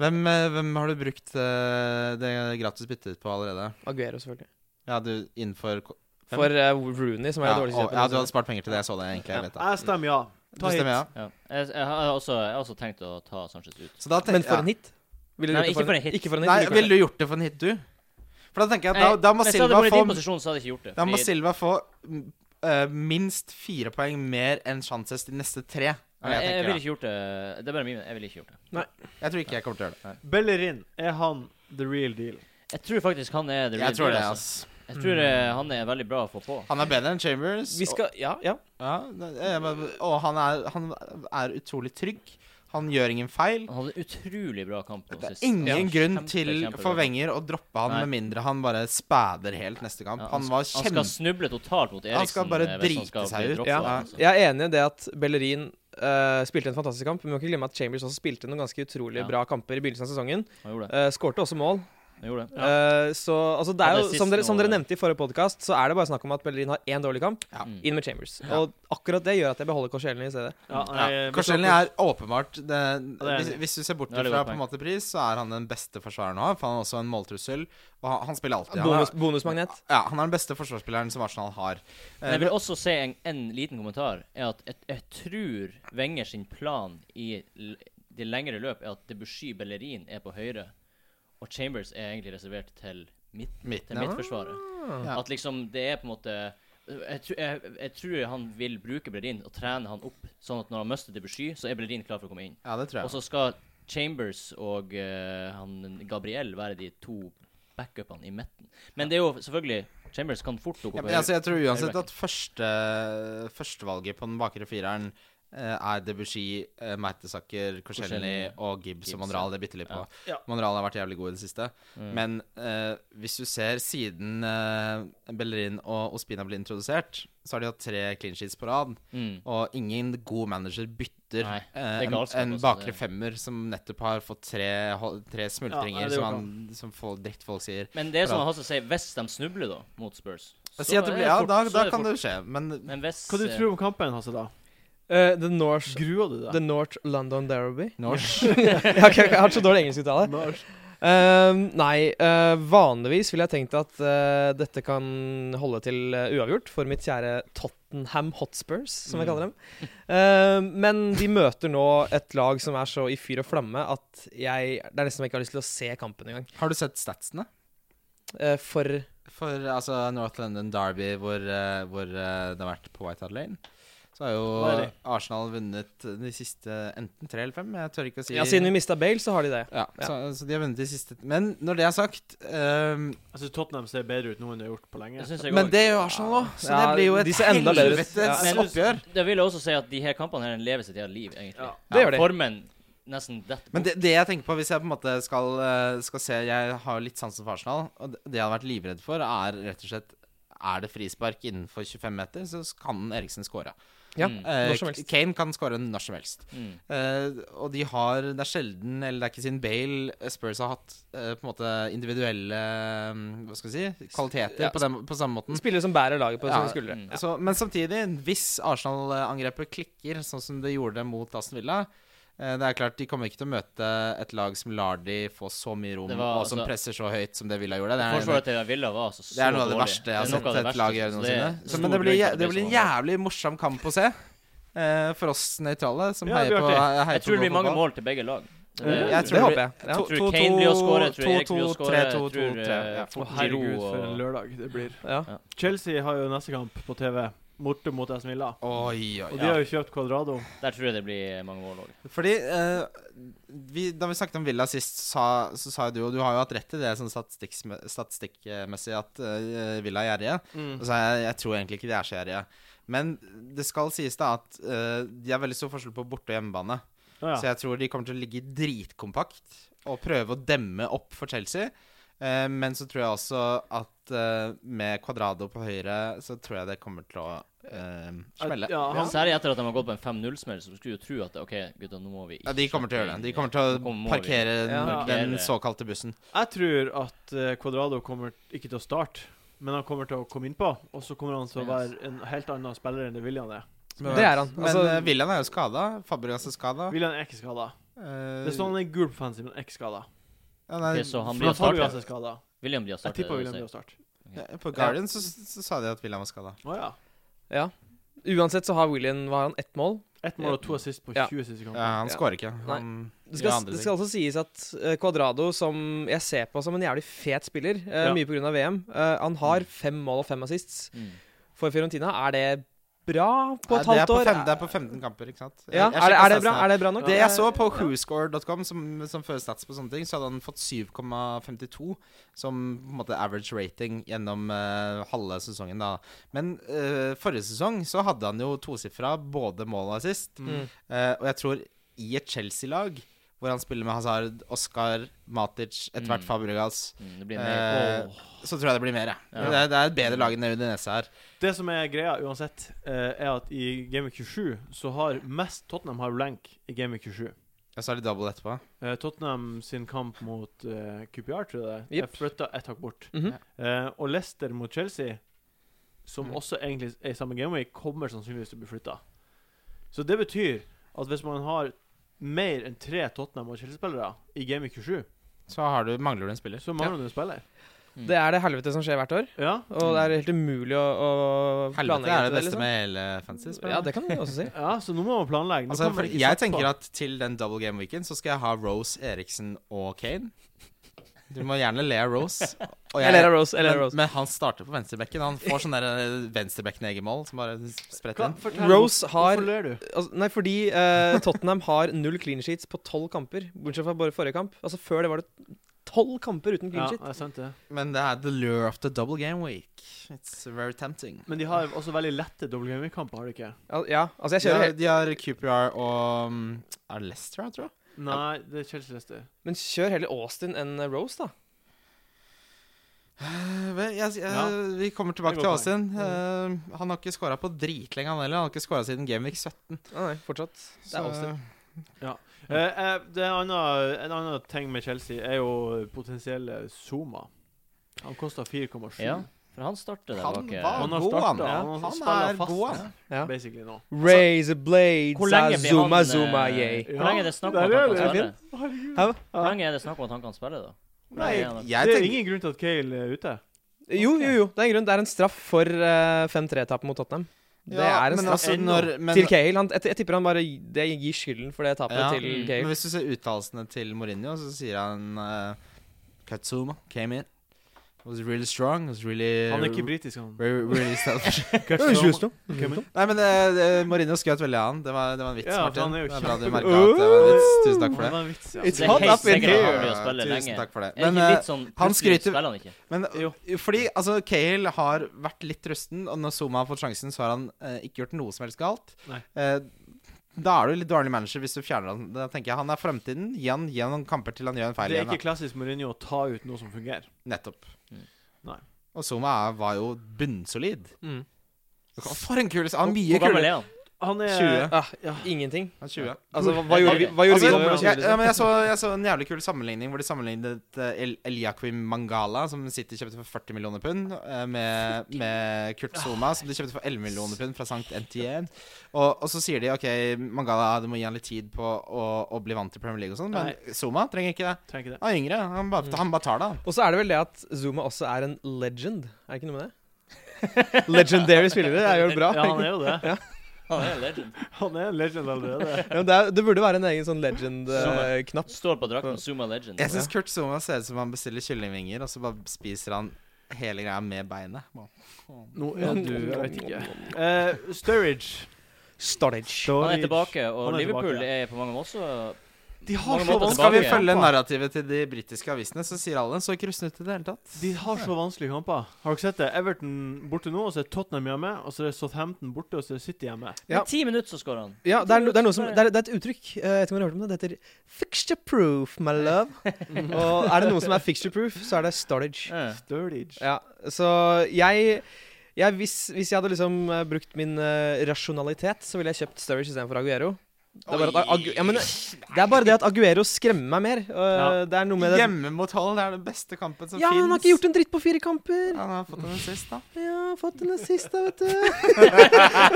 Speaker 2: Hvem, eh, hvem har du brukt eh, det gratis byttet på allerede?
Speaker 4: Aguero, selvfølgelig.
Speaker 2: Ja, du innenfor ko- Hvem?
Speaker 4: For eh, Rooney, som er
Speaker 2: ja,
Speaker 4: det dårligste
Speaker 2: å, ja, du hadde spart penger til det. Jeg så det egentlig. Jeg vet det.
Speaker 1: Jeg stemmer ja.
Speaker 2: Du
Speaker 1: Ta hit.
Speaker 2: stemmer, ja.
Speaker 3: Ja. Jeg, jeg, har også, jeg har også tenkt å ta Sanchez ut.
Speaker 2: Så da tenker,
Speaker 4: Men for en hit? Ville du
Speaker 3: Nei,
Speaker 4: gjort det
Speaker 3: ikke for en hit.
Speaker 4: Ikke for en hit. ville du
Speaker 2: Nei,
Speaker 4: gjort
Speaker 2: Ville du gjort det for en hit, du? For da tenker jeg at da, da må
Speaker 3: Hvis jeg hadde
Speaker 2: Silva
Speaker 3: vært altså. i
Speaker 2: få
Speaker 3: din posisjon, så hadde jeg ikke gjort det.
Speaker 2: Da må
Speaker 3: Fordi-
Speaker 2: Silva få mm, eh, minst fire poeng mer enn Sanchez de neste tre. er det
Speaker 3: Nei, jeg, jeg
Speaker 2: Jeg,
Speaker 3: ville ikke gjort det. Det er bare min, jeg ville ikke gjort det.
Speaker 2: tenker, da. jeg tror ikke jeg kommer til å gjøre det.
Speaker 1: Bellerin, er han the real deal?
Speaker 3: Jeg tror faktisk han er the real
Speaker 2: Jeg tror
Speaker 3: deal,
Speaker 2: det,
Speaker 3: altså.
Speaker 2: ass.
Speaker 3: Jeg tror eh, han er veldig bra å få på.
Speaker 2: Han er bedre enn Chambers.
Speaker 4: det? Vi skal Ja, ja.
Speaker 2: Og, ja, det- jeg bare- og han, er, han er utrolig trygg. Han gjør ingen feil.
Speaker 3: Han hadde en utrolig bra kamp nå
Speaker 2: Det er
Speaker 3: sist.
Speaker 2: ingen
Speaker 3: Ja.
Speaker 2: grunn
Speaker 3: Kjempe,
Speaker 2: til
Speaker 3: kjempebra
Speaker 2: for
Speaker 3: kamp.
Speaker 2: Wenger å droppe han
Speaker 3: Nei.
Speaker 2: med mindre han bare spæder helt neste kamp.
Speaker 3: Ja,
Speaker 2: han, var
Speaker 3: Han skal
Speaker 2: kjempe...
Speaker 3: snuble totalt mot Eriksen.
Speaker 2: Han skal bare
Speaker 3: eh, hvis han
Speaker 2: drite
Speaker 3: skal
Speaker 2: seg
Speaker 3: bli
Speaker 2: ut.
Speaker 3: droppet,
Speaker 4: Ja.
Speaker 3: altså.
Speaker 4: Jeg er enig i det at Bellerin eh, spilte en fantastisk kamp. Men vi må ikke glemme at Chambers også spilte noen ganske utrolig
Speaker 3: Ja.
Speaker 4: bra kamper i begynnelsen av sesongen.
Speaker 3: Han gjorde det.
Speaker 4: Uh, Skårte også mål.
Speaker 3: Han gjorde det.
Speaker 4: Eh, så altså, det
Speaker 3: Ja,
Speaker 4: er
Speaker 3: det
Speaker 4: jo,
Speaker 3: siste
Speaker 4: som dere, som
Speaker 3: nå,
Speaker 4: dere
Speaker 3: ja.
Speaker 4: nevnte i forrige podkast, så er det bare snakk om at Bellerin har én dårlig kamp.
Speaker 2: Ja.
Speaker 3: Mm.
Speaker 4: Inn med Chambers.
Speaker 2: Ja.
Speaker 4: Og akkurat det gjør at jeg beholder Korselny i stedet.
Speaker 1: Ja,
Speaker 2: Ja.
Speaker 1: jeg-
Speaker 2: Korselny er åpenbart det,
Speaker 1: er
Speaker 2: hvis,
Speaker 1: enig.
Speaker 2: hvis du ser bort
Speaker 3: Det er
Speaker 2: fra
Speaker 3: veldig godt
Speaker 2: på en
Speaker 3: poeng.
Speaker 2: måte pris, så er han den beste forsvareren å ha. For han er også en måltrussel. Og han, han spiller alltid. Han
Speaker 4: Bonus,
Speaker 2: er,
Speaker 4: bonusmagnet.
Speaker 2: ja, han er den beste forsvarsspilleren som Arsenal har.
Speaker 3: Men
Speaker 2: Eh,
Speaker 3: jeg vil også si en, en liten kommentar. Er at jeg, jeg tror Wenger sin plan i l- det lengre løp er at Debussy Bellerin er på høyre, og Chambers er egentlig reservert til, midt, til
Speaker 2: Midten, ja.
Speaker 3: midtforsvaret.
Speaker 2: Ja.
Speaker 3: At liksom det er på en måte jeg, tr- jeg, jeg tror han vil bruke Bellerin og trene han opp, sånn at når han mister Debussy, så er Bellerin klar for å komme inn.
Speaker 2: Ja, det tror jeg.
Speaker 3: Og så skal Chambers og eh, han Gabriel være de to backupene i midten. Men det er jo selvfølgelig Chambers kan fort dukke
Speaker 2: Ja,
Speaker 3: opp.
Speaker 2: men altså, jeg tror uansett
Speaker 3: Høyrebacken.
Speaker 2: at første, førstevalget på den bakre fireren eh, er Debussy, uh, Mertesacker,
Speaker 3: Koscielny
Speaker 2: Korselny og Gibbs,
Speaker 3: Gibbs,
Speaker 2: og Monreal. Det bytter litt på.
Speaker 1: Ja. Ja.
Speaker 2: Monreal har vært jævlig god i det siste.
Speaker 3: Mm.
Speaker 2: Men eh, hvis du ser siden eh, Bellerin og Ospina ble introdusert, så har de hatt tre clean sheets på rad.
Speaker 3: mm.
Speaker 2: Og ingen god manager bytter
Speaker 3: Nei, det
Speaker 2: eh,
Speaker 3: er
Speaker 2: en,
Speaker 3: galskap,
Speaker 2: en
Speaker 3: altså,
Speaker 2: bakre
Speaker 3: det-
Speaker 2: femmer som nettopp har fått tre, hol- tre
Speaker 1: Ja,
Speaker 2: smultringer,
Speaker 1: nei, det
Speaker 2: som,
Speaker 1: går
Speaker 2: han, som folk, drittfolk sier.
Speaker 3: Men det er sånn
Speaker 2: Bra.
Speaker 3: han som sier hvis de snubler, da, mot Spurs så
Speaker 2: Si at det
Speaker 3: er
Speaker 2: blir, ja,
Speaker 3: fort-
Speaker 2: da,
Speaker 3: så
Speaker 2: da
Speaker 3: er
Speaker 2: kan
Speaker 3: fort-
Speaker 2: det jo skje, men
Speaker 3: Men hvis
Speaker 1: Hva du
Speaker 3: eh,
Speaker 1: tror om kampen, Hasse, da?
Speaker 4: Eh, the, North,
Speaker 1: Gruer du
Speaker 4: the
Speaker 1: deg?
Speaker 4: North London Derby. *laughs*
Speaker 2: norsk
Speaker 4: jeg, har ikke, jeg har så dårlig engelskuttale.
Speaker 1: Norsk.
Speaker 4: Um, nei, eh, vanligvis ville jeg tenkt at eh, dette kan holde til eh, uavgjort for mitt kjære Tottenham Hotspurs, som jeg
Speaker 1: Mm.
Speaker 4: kaller dem. Eh, men de møter nå et lag som er så i fyr og flamme at jeg det er nesten som jeg ikke har lyst til å se kampen engang.
Speaker 2: Har du sett statsene?
Speaker 4: Eh, for
Speaker 2: For altså, North London Derby, hvor, eh, hvor eh, det har vært på Whitehall Lane, så
Speaker 1: Hva er
Speaker 2: har jo
Speaker 1: det?
Speaker 2: Arsenal vunnet de siste enten tre eller fem. Jeg tør ikke å si
Speaker 4: ja, siden vi mista Bale, så har de det.
Speaker 2: Ja, Så, så de har vunnet de siste Men når det er sagt ehm,
Speaker 1: Jeg synes Tottenham ser bedre ut nå enn de har gjort på lenge.
Speaker 3: det synes jeg
Speaker 2: Men
Speaker 3: også.
Speaker 2: det gjør Arsenal òg, så
Speaker 4: Ja,
Speaker 2: det blir jo
Speaker 4: de
Speaker 2: et
Speaker 4: ser enda bedre ut.
Speaker 3: Ja.
Speaker 2: helvetes oppgjør.
Speaker 3: Det vil jeg også si at de her kampene her lever sitt eget liv, egentlig.
Speaker 1: Ja.
Speaker 4: Det gjør de.
Speaker 3: Formen nesten detter
Speaker 2: Men
Speaker 3: bort.
Speaker 2: det, det jeg tenker på hvis jeg på en måte skal, eh, skal se Jeg har jo litt sansen for Arsenal. Og det det jeg hadde vært livredd for, er rett og slett Er det frispark innenfor 25 meter, så kan Eriksen skåre.
Speaker 4: Ja,
Speaker 3: Mm.
Speaker 2: Eh,
Speaker 4: når som helst.
Speaker 2: Kane kan skåre når som helst.
Speaker 3: Mm.
Speaker 2: Eh, og de har Det er sjelden, eller det er ikke siden Bale Spurs har hatt eh, på en måte individuelle eh, Hva skal vi si kvaliteter
Speaker 4: Ja.
Speaker 2: på, den, på samme måten.
Speaker 4: Spillere som bærer laget på
Speaker 2: Ja,
Speaker 4: sine skuldre.
Speaker 3: mm.
Speaker 2: Så, men samtidig, hvis Arsenal-angrepet klikker sånn som det gjorde mot Aston Villa eh, det er klart, De kommer ikke til å møte et lag som lar de få så mye rom,
Speaker 3: Det var,
Speaker 2: og som
Speaker 3: altså-
Speaker 2: presser så høyt som det Villa gjorde. Det er,
Speaker 3: Forsvaret til Villa var altså så
Speaker 2: det er noe av det
Speaker 3: dårlig.
Speaker 2: verste jeg har
Speaker 3: Det er noe
Speaker 2: sett
Speaker 3: av det
Speaker 2: et lag
Speaker 3: verste,
Speaker 2: gjøre
Speaker 3: så
Speaker 2: noensinne.
Speaker 3: det er
Speaker 2: Så,
Speaker 3: stor
Speaker 2: men det blir,
Speaker 3: grunn til
Speaker 2: jæ-
Speaker 3: at
Speaker 2: det blir en
Speaker 3: sånn her.
Speaker 2: jævlig morsom kamp å se. eh, for oss nøytrale, som
Speaker 1: Ja, det
Speaker 2: heier
Speaker 1: blir
Speaker 2: på
Speaker 1: artig.
Speaker 2: heier
Speaker 3: Jeg tror det
Speaker 2: god
Speaker 3: blir mange
Speaker 2: fotball.
Speaker 3: mål til begge lag. Det er-
Speaker 2: jeg
Speaker 4: det
Speaker 2: tror det
Speaker 4: håper Eh, jeg. Ja.
Speaker 2: To-
Speaker 3: Jeg tror
Speaker 2: to-
Speaker 3: Kane blir å
Speaker 2: to-
Speaker 3: skåre, jeg tror Erik blir å
Speaker 2: 2-2,
Speaker 3: skåre, jeg
Speaker 2: 3-2,
Speaker 3: tror
Speaker 2: 2-3,
Speaker 3: eh,
Speaker 2: ja.
Speaker 1: Å,
Speaker 3: fort
Speaker 1: herregud,
Speaker 3: Giroud
Speaker 1: for en
Speaker 3: og
Speaker 1: lørdag det blir.
Speaker 4: Ja.
Speaker 1: Chelsea har jo neste kamp på TV. Morte mot Aston Villa.
Speaker 2: Oi, oi,
Speaker 1: Og
Speaker 2: oi.
Speaker 1: de har jo kjøpt Quadrado.
Speaker 3: Der tror jeg det blir mange mål òg.
Speaker 2: Fordi eh, vi, Da vi snakket om Villa sist, sa, så sa jo du og du har jo hatt rett i det sånn statistikksme- statistikkmessig at eh, Villa er gjerrige.
Speaker 1: Mm.
Speaker 2: Og så er jeg, jeg tror egentlig ikke de er så gjerrige. Men det skal sies da at eh, de er veldig stor forskjell på borte- og hjemmebane.
Speaker 1: Å, ja.
Speaker 2: Så jeg tror de kommer til å ligge dritkompakt og prøve å demme opp for Chelsea. Eh, men så tror jeg også at eh, med Cuadrado på høyre, så tror jeg det kommer til å eh, smelle.
Speaker 1: Ja, han,
Speaker 3: Særlig etter at de har gått på en 5-0-smell, så skulle du tro at OK, gutta, nå må vi
Speaker 2: Ja, De kommer til å gjøre det. De kommer til å
Speaker 3: Kommer- må vi.
Speaker 2: parkere
Speaker 1: Ja.
Speaker 2: den såkalte bussen.
Speaker 1: Jeg tror at eh, Quadrado kommer ikke til å starte, men han kommer til å komme innpå. Og så kommer han til å være en helt annen spiller enn det William er.
Speaker 4: Det er han.
Speaker 2: Men
Speaker 4: Altså,
Speaker 2: eh, William er jo skada. Fabregas er skada.
Speaker 1: William er ikke skada.
Speaker 2: Eh.
Speaker 1: Det står han er gul på fancy, men er ikke skada.
Speaker 3: Ok, så han blir å starte.
Speaker 1: Fabregas er skada.
Speaker 3: William de har
Speaker 1: altså- Jeg
Speaker 3: startet.
Speaker 1: tipper
Speaker 3: det
Speaker 1: William
Speaker 3: vil
Speaker 1: blir
Speaker 3: jeg
Speaker 1: å starte.
Speaker 2: På Guardian så, så sa de at William var skada.
Speaker 1: Å ja.
Speaker 4: ja. Uansett så har William hva har han, ett mål.
Speaker 1: Ett mål og to assist på
Speaker 4: Ja.
Speaker 1: 20 siste kamper.
Speaker 2: Ja, han
Speaker 4: Ja.
Speaker 2: skårer ikke. Han
Speaker 4: Det skal,
Speaker 2: gjør andre
Speaker 4: det
Speaker 2: ting.
Speaker 4: skal altså sies at eh, Cuadrado, som jeg ser på som en jævlig fet spiller, eh,
Speaker 1: Ja.
Speaker 4: mye på grunn av VM eh, Han har fem mål og fem assists
Speaker 3: si. Mm.
Speaker 4: for Fiorentina. Er det bra på et
Speaker 2: Nei,
Speaker 4: halvt år?
Speaker 2: Det er på, fem, det er på 15 kamper, ikke sant?
Speaker 4: ja, er,
Speaker 2: Jeg- jeg
Speaker 4: det,
Speaker 2: sjekket
Speaker 4: er, det bra,
Speaker 2: statsene.
Speaker 4: er det bra nok?
Speaker 2: Det jeg så på whoscore.com, som, som fører stats på sånne ting, så hadde han fått 7,52 som på en måte average rating gjennom eh, halve sesongen, da. Men eh, forrige sesong så hadde han jo tosifra både mål og assist.
Speaker 4: Mm.
Speaker 2: Eh, og jeg tror i et Chelsea-lag, hvor han spiller med Hazard, Oscar, Matic, etter hvert
Speaker 3: Mm.
Speaker 2: Fabregas,
Speaker 3: Mm, det blir mer
Speaker 2: Eh, så tror jeg det blir mer, jeg.
Speaker 3: Ja.
Speaker 2: Det, er- det er et bedre lag enn det Udinese er.
Speaker 1: Det som er greia uansett, eh, er at i Game Week 27 så har mest Tottenham har blank i Game Week 27.
Speaker 2: Og så er det double etterpå.
Speaker 1: Eh, Tottenham sin kamp mot eh, QPR, tror jeg det er,
Speaker 4: Jep.
Speaker 1: er flytta ett hakk bort.
Speaker 4: Mhm.
Speaker 1: Eh, og Leicester mot Chelsea, som
Speaker 2: Mm.
Speaker 1: også egentlig er i samme gameweek, kommer sannsynligvis til å bli flytta. Så det betyr at hvis man har mer enn tre Tottenham og Chelsea-spillere i gameweek 27,
Speaker 2: Så har du, mangler du en spiller.
Speaker 1: så mangler du en spiller.
Speaker 3: Mm.
Speaker 4: Det er det helvete som skjer hvert år,
Speaker 1: Ja.
Speaker 4: og det er helt umulig å, å
Speaker 2: Helvete
Speaker 4: planlegge
Speaker 2: er det
Speaker 4: etter
Speaker 2: beste
Speaker 4: liksom.
Speaker 2: med hele fantasy. spør du
Speaker 4: Ja,
Speaker 2: meg.
Speaker 4: det kan vi også si.
Speaker 1: ja, så nå må man planlegge. Nå
Speaker 2: Altså,
Speaker 1: kan man
Speaker 2: for
Speaker 1: ikke
Speaker 2: jeg
Speaker 1: satse på.
Speaker 2: tenker at til den double game weekend så skal jeg ha Rose, Eriksen og Kane. Du må gjerne le av Rose. *laughs* Og
Speaker 4: Jeg ler av Rose. Jeg ler av
Speaker 2: men,
Speaker 4: Rose.
Speaker 2: men han starter på venstrebekken. Han får sånn der eh, venstrebekken i eget mål som bare spretter
Speaker 1: Hva-
Speaker 2: inn.
Speaker 1: fortell-
Speaker 4: Rose har-
Speaker 1: Hvorfor ler du?
Speaker 4: Altså, nei, fordi eh, Tottenham har null clean sheets på tolv kamper, bortsett fra bare forrige kamp. Altså Før det var det tolv kamper uten
Speaker 1: Ja,
Speaker 4: clean shit.
Speaker 1: det er sant det.
Speaker 2: Men det er the lure of the double game week. It's very tempting.
Speaker 1: Men de har også veldig lette WM-kamper, har de ikke?
Speaker 4: Ja, ja, altså jeg
Speaker 2: De
Speaker 4: kjører
Speaker 2: har,
Speaker 4: helt
Speaker 2: de har QPR og um, Er det Leicester, jeg tror jeg?
Speaker 1: Nei, det er Chelsea-leste.
Speaker 4: Men kjør heller Austin enn eh, Rose, da.
Speaker 2: Eh, vel, jeg, jeg,
Speaker 1: Ja.
Speaker 2: Vi kommer tilbake
Speaker 1: Det
Speaker 2: til
Speaker 1: går
Speaker 2: Austin. Eh, han har ikke scora på dritlenge, han heller. Han har ikke scora siden Gameweek 17.
Speaker 4: Nei, nei, fortsatt. Det er
Speaker 2: så-
Speaker 4: Austin.
Speaker 1: Eh, eh, det er en annen, en annen ting med Chelsea er jo potensielle Zuma. Han koster 4,7.
Speaker 3: Ja, for han starter der
Speaker 2: Han
Speaker 3: bak. eh,
Speaker 2: var
Speaker 1: Han har
Speaker 2: god, han.
Speaker 1: startet,
Speaker 2: Ja,
Speaker 1: han
Speaker 2: Han
Speaker 1: spiller
Speaker 2: er
Speaker 1: fast.
Speaker 2: god, han.
Speaker 4: Ja.
Speaker 1: Basically nå.
Speaker 4: Razor blades,
Speaker 3: Hvor lenge blir
Speaker 4: zuma,
Speaker 3: han eh,
Speaker 4: zuma, yay.
Speaker 3: Hvor lenge er det snakk om
Speaker 1: Ja,
Speaker 3: at
Speaker 1: der
Speaker 3: han
Speaker 1: er
Speaker 3: kan
Speaker 1: det.
Speaker 3: spille?
Speaker 4: Hæ?
Speaker 3: Hvor lenge er det snakk om at han kan spille, da?
Speaker 2: Nei,
Speaker 3: Nei, han er-
Speaker 2: jeg
Speaker 1: det er
Speaker 2: tenker
Speaker 1: ingen grunn til at Kale er ute.
Speaker 4: Jo, jo, jo. Det er en grunn. Det er en straff for eh, 5-3-tapet mot Tottenham. Det
Speaker 2: Ja,
Speaker 4: er en
Speaker 2: men
Speaker 4: straff.
Speaker 2: altså, når, men,
Speaker 4: til Cahill. Han, jeg, jeg tipper han bare det gir skylden for det tapet
Speaker 2: Ja,
Speaker 4: til
Speaker 3: mm,
Speaker 2: Men
Speaker 4: Cahill.
Speaker 2: hvis du ser uttalelsene til Mourinho, så sier han eh, Katsuma came in. Was really strong. Was really
Speaker 1: Han er ikke britisk, han.
Speaker 2: Really, really
Speaker 1: *laughs*
Speaker 2: selfish.
Speaker 1: Kevin.
Speaker 2: Nei, men eh, eh, Mourinho skrøt veldig av han. Det var, det var en vits,
Speaker 1: Ja, for
Speaker 2: Martin.
Speaker 1: han er jo
Speaker 2: Det er bra du
Speaker 1: kjempe-
Speaker 2: merket at det var en vits. Tusen takk for
Speaker 1: Det
Speaker 2: det.
Speaker 1: var en vits, ja.
Speaker 4: It's
Speaker 3: Det er
Speaker 4: hot
Speaker 3: helt
Speaker 4: up in
Speaker 3: sikkert at han
Speaker 4: here.
Speaker 3: blir å spille
Speaker 2: Tusen
Speaker 3: lenge.
Speaker 2: takk for det.
Speaker 3: Er det
Speaker 2: Men
Speaker 3: ikke
Speaker 2: eh,
Speaker 3: litt sånn,
Speaker 2: han
Speaker 3: plutselig
Speaker 2: skryter-
Speaker 3: spiller han ikke.
Speaker 2: Men
Speaker 1: Jo.
Speaker 2: fordi altså, Cahill har vært litt rusten, og når Zuma har fått sjansen, så har han eh, ikke gjort noe som helst galt.
Speaker 1: Nei.
Speaker 2: Eh, da er du litt dårlig manager hvis du fjerner han. Da tenker jeg Han er fremtiden. Gi han gi han noen kamper til han gjør en feil
Speaker 1: Det er
Speaker 2: igjen.
Speaker 1: ikke klassisk Mourinho å ta ut noe som fungerer.
Speaker 2: da. Nettopp.
Speaker 3: Mm.
Speaker 1: Nei.
Speaker 2: Og Zuma er, var jo bunnsolid.
Speaker 4: Mm.
Speaker 2: For en kul Han er mye
Speaker 3: Hvor gammel
Speaker 2: kulere.
Speaker 3: er han?
Speaker 1: Han er
Speaker 2: 20.
Speaker 4: Ah, ja. Ingenting.
Speaker 2: Han er 20.
Speaker 4: Altså, hva, hva gjorde vi, hva gjorde
Speaker 2: Altså,
Speaker 4: vi når vi var
Speaker 2: jeg,
Speaker 4: 20?
Speaker 2: ja, men jeg, så, jeg så en jævlig kul sammenligning hvor de sammenlignet eh, El Eliakim Mangala, som City kjøpte for 40 millioner pund, eh, med, med Kurt Zuma, som de kjøpte for 11 millioner pund fra Sankt NTN. Og, og så sier de OK, Mangala, du må gi han litt tid på å, å bli vant til Premier League og sånn, men Zuma trenger ikke det.
Speaker 1: Trenger ikke det.
Speaker 2: Han er yngre. Han bare, han bare tar det. han.
Speaker 4: Og så er det vel det at Zuma også er en legend. Er det ikke noe med det? *laughs* Legendary spillere er jo bra.
Speaker 1: *laughs* Ja, han er jo det.
Speaker 3: Han er en legend.
Speaker 1: Han er en legend allerede.
Speaker 4: Ja, men det, er, det burde være en egen sånn legend-knapp.
Speaker 3: Står på drakten Zuma Legend.
Speaker 2: Jeg syns Kurt Zuma ser ut som han bestiller kyllingvinger, og så bare spiser han hele greia med beinet.
Speaker 1: Nå er du Jeg vet ikke. Eh, Sturridge.
Speaker 4: Storage.
Speaker 3: Han er tilbake, og
Speaker 1: Han er
Speaker 3: Liverpool
Speaker 1: tilbake,
Speaker 3: er på mange måter også
Speaker 1: De har
Speaker 3: Mange
Speaker 1: så
Speaker 3: måter
Speaker 2: Skal vi
Speaker 1: vanskelige
Speaker 3: tilbake.
Speaker 2: følge
Speaker 1: kamper.
Speaker 2: narrativet til de britiske avisene, så sier alle så ikke rusten ut i det hele tatt.
Speaker 1: De har så vanskelige kamper. Har dere sett det? Everton borte nå, og så er Tottenham hjemme. Og så er det Southampton borte, og så er det City hjemme.
Speaker 3: I
Speaker 4: Ja.
Speaker 3: ti minutter så skårer han.
Speaker 4: Ja, det er, no- det er noe som Det er, det er et uttrykk. eh, Jeg vet ikke om dere har hørt om det. Det heter fixture proof, my love.
Speaker 2: *laughs*
Speaker 4: Og er det noe som er fixture proof, så er det storage.
Speaker 3: Eh.
Speaker 1: Sturridge.
Speaker 4: Ja, så jeg, jeg hvis, hvis jeg hadde liksom eh, brukt min eh, rasjonalitet, så ville jeg kjøpt Sturridge istedenfor Aguero. Det er, bare at Agu ja, men, eh, det er bare det at Aguero skremmer meg mer. og, eh, Det er noe med det.
Speaker 2: Hjemme mot Holland er den beste kampen som
Speaker 4: Ja,
Speaker 2: finnes
Speaker 4: han har ikke gjort en dritt på fire kamper.
Speaker 2: Han har fått den sist, da.
Speaker 4: Ja, fått den sist, da,
Speaker 2: *laughs*
Speaker 4: vet du.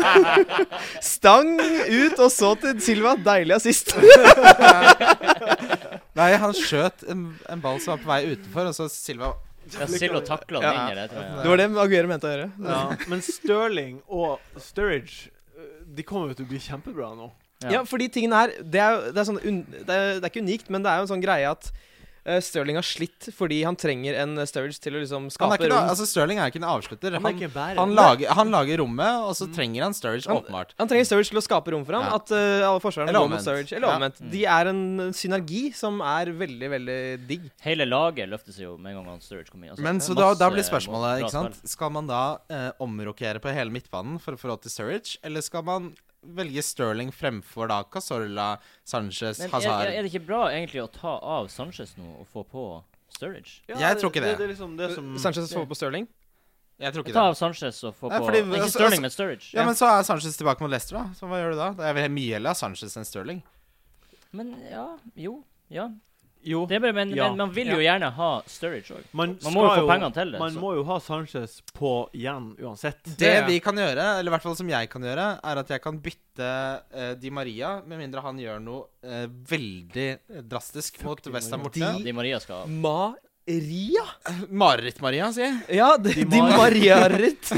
Speaker 4: *laughs* Stang ut, og så til Silva. Deilig assist.
Speaker 2: Nei, han skjøt en, en ball som var på vei utenfor, og så Silva
Speaker 3: Ja, Silva takla den
Speaker 2: Ja.
Speaker 3: inn i det, tror
Speaker 4: Det
Speaker 3: jeg.
Speaker 4: var det Aguero mente å gjøre.
Speaker 1: Ja. Men Sterling og Sturridge eh, de kommer jo til å bli kjempebra nå.
Speaker 3: Ja.
Speaker 4: Ja, fordi tingene her Det er, jo- det er, sånn, un, det er, det er ikke unikt, men det er jo en sånn greie at eh, Sterling har slitt fordi han trenger en Sturridge til å liksom
Speaker 2: han
Speaker 4: skape
Speaker 2: er ikke noe,
Speaker 4: rom.
Speaker 2: altså Stirling er ikke en avslutter.
Speaker 1: Han er
Speaker 2: Han,
Speaker 1: ikke en bærer.
Speaker 2: han, lager, han lager rommet, og så trenger han Sturridge,
Speaker 4: Han-
Speaker 2: åpenbart.
Speaker 4: Han trenger Sturridge til å skape rom for ham.
Speaker 2: Ja.
Speaker 4: At eh, alle forsvarerne
Speaker 2: Eller
Speaker 4: går mot
Speaker 2: omvendt.
Speaker 4: Sturridge. Eller
Speaker 2: Ja. Mm.
Speaker 4: omvendt. De er en synergi som er veldig, veldig digg.
Speaker 3: Hele laget løftes jo med en gang han Sturridge kom inn. altså.
Speaker 2: Men så
Speaker 3: Det er
Speaker 2: da,
Speaker 3: masse
Speaker 2: da blir spørsmålet,
Speaker 3: bra
Speaker 2: ikke sant
Speaker 3: spill.
Speaker 2: Skal man da eh, omrokere på hele midtbanen for å få råd til Sturridge, eller skal man velge Sterling fremfor da Casorla, Sanchez,
Speaker 3: Men er,
Speaker 2: Hazard
Speaker 3: er det ikke bra egentlig å ta av Sanchez nå og få på Sturridge?
Speaker 2: Jeg tror ikke
Speaker 1: Det,
Speaker 2: det.
Speaker 1: det er liksom det som
Speaker 4: Sanchez får på Sterling.
Speaker 2: Mm. Jeg tror ikke
Speaker 3: Ta
Speaker 2: det.
Speaker 3: av Sanchez og få
Speaker 2: Nei,
Speaker 3: på
Speaker 2: fordi-
Speaker 3: Ikke
Speaker 2: altså-
Speaker 3: Sterling,
Speaker 2: altså-
Speaker 3: men Sturridge.
Speaker 2: Ja, men så er Sanchez tilbake mot Leicester, da. Så hva gjør du da? Det er vel mye heller Sanchez enn Sterling.
Speaker 3: Men ja, jo. Ja.
Speaker 1: Jo,
Speaker 3: Det er bare, men,
Speaker 1: Ja.
Speaker 3: men man vil jo gjerne ha Sturridge òg.
Speaker 1: man,
Speaker 3: Man må jo
Speaker 1: skal
Speaker 3: få pengene til det.
Speaker 1: Man
Speaker 3: så-
Speaker 1: må jo ha Sanchez på igjen uansett.
Speaker 2: Det
Speaker 4: Det-
Speaker 2: vi kan gjøre, eller i hvert fall som jeg kan gjøre, er at jeg kan bytte eh, Di Maria, med mindre han gjør noe eh, veldig drastisk mot
Speaker 1: Di
Speaker 2: Westham
Speaker 1: Maria.
Speaker 2: borte.
Speaker 3: Ja, Di Maria skal av.
Speaker 4: Maria?
Speaker 2: Mareritt-Maria, sier jeg.
Speaker 4: Ja, Di, Di
Speaker 1: Maria.
Speaker 4: Maria
Speaker 2: *laughs*
Speaker 4: Ritt.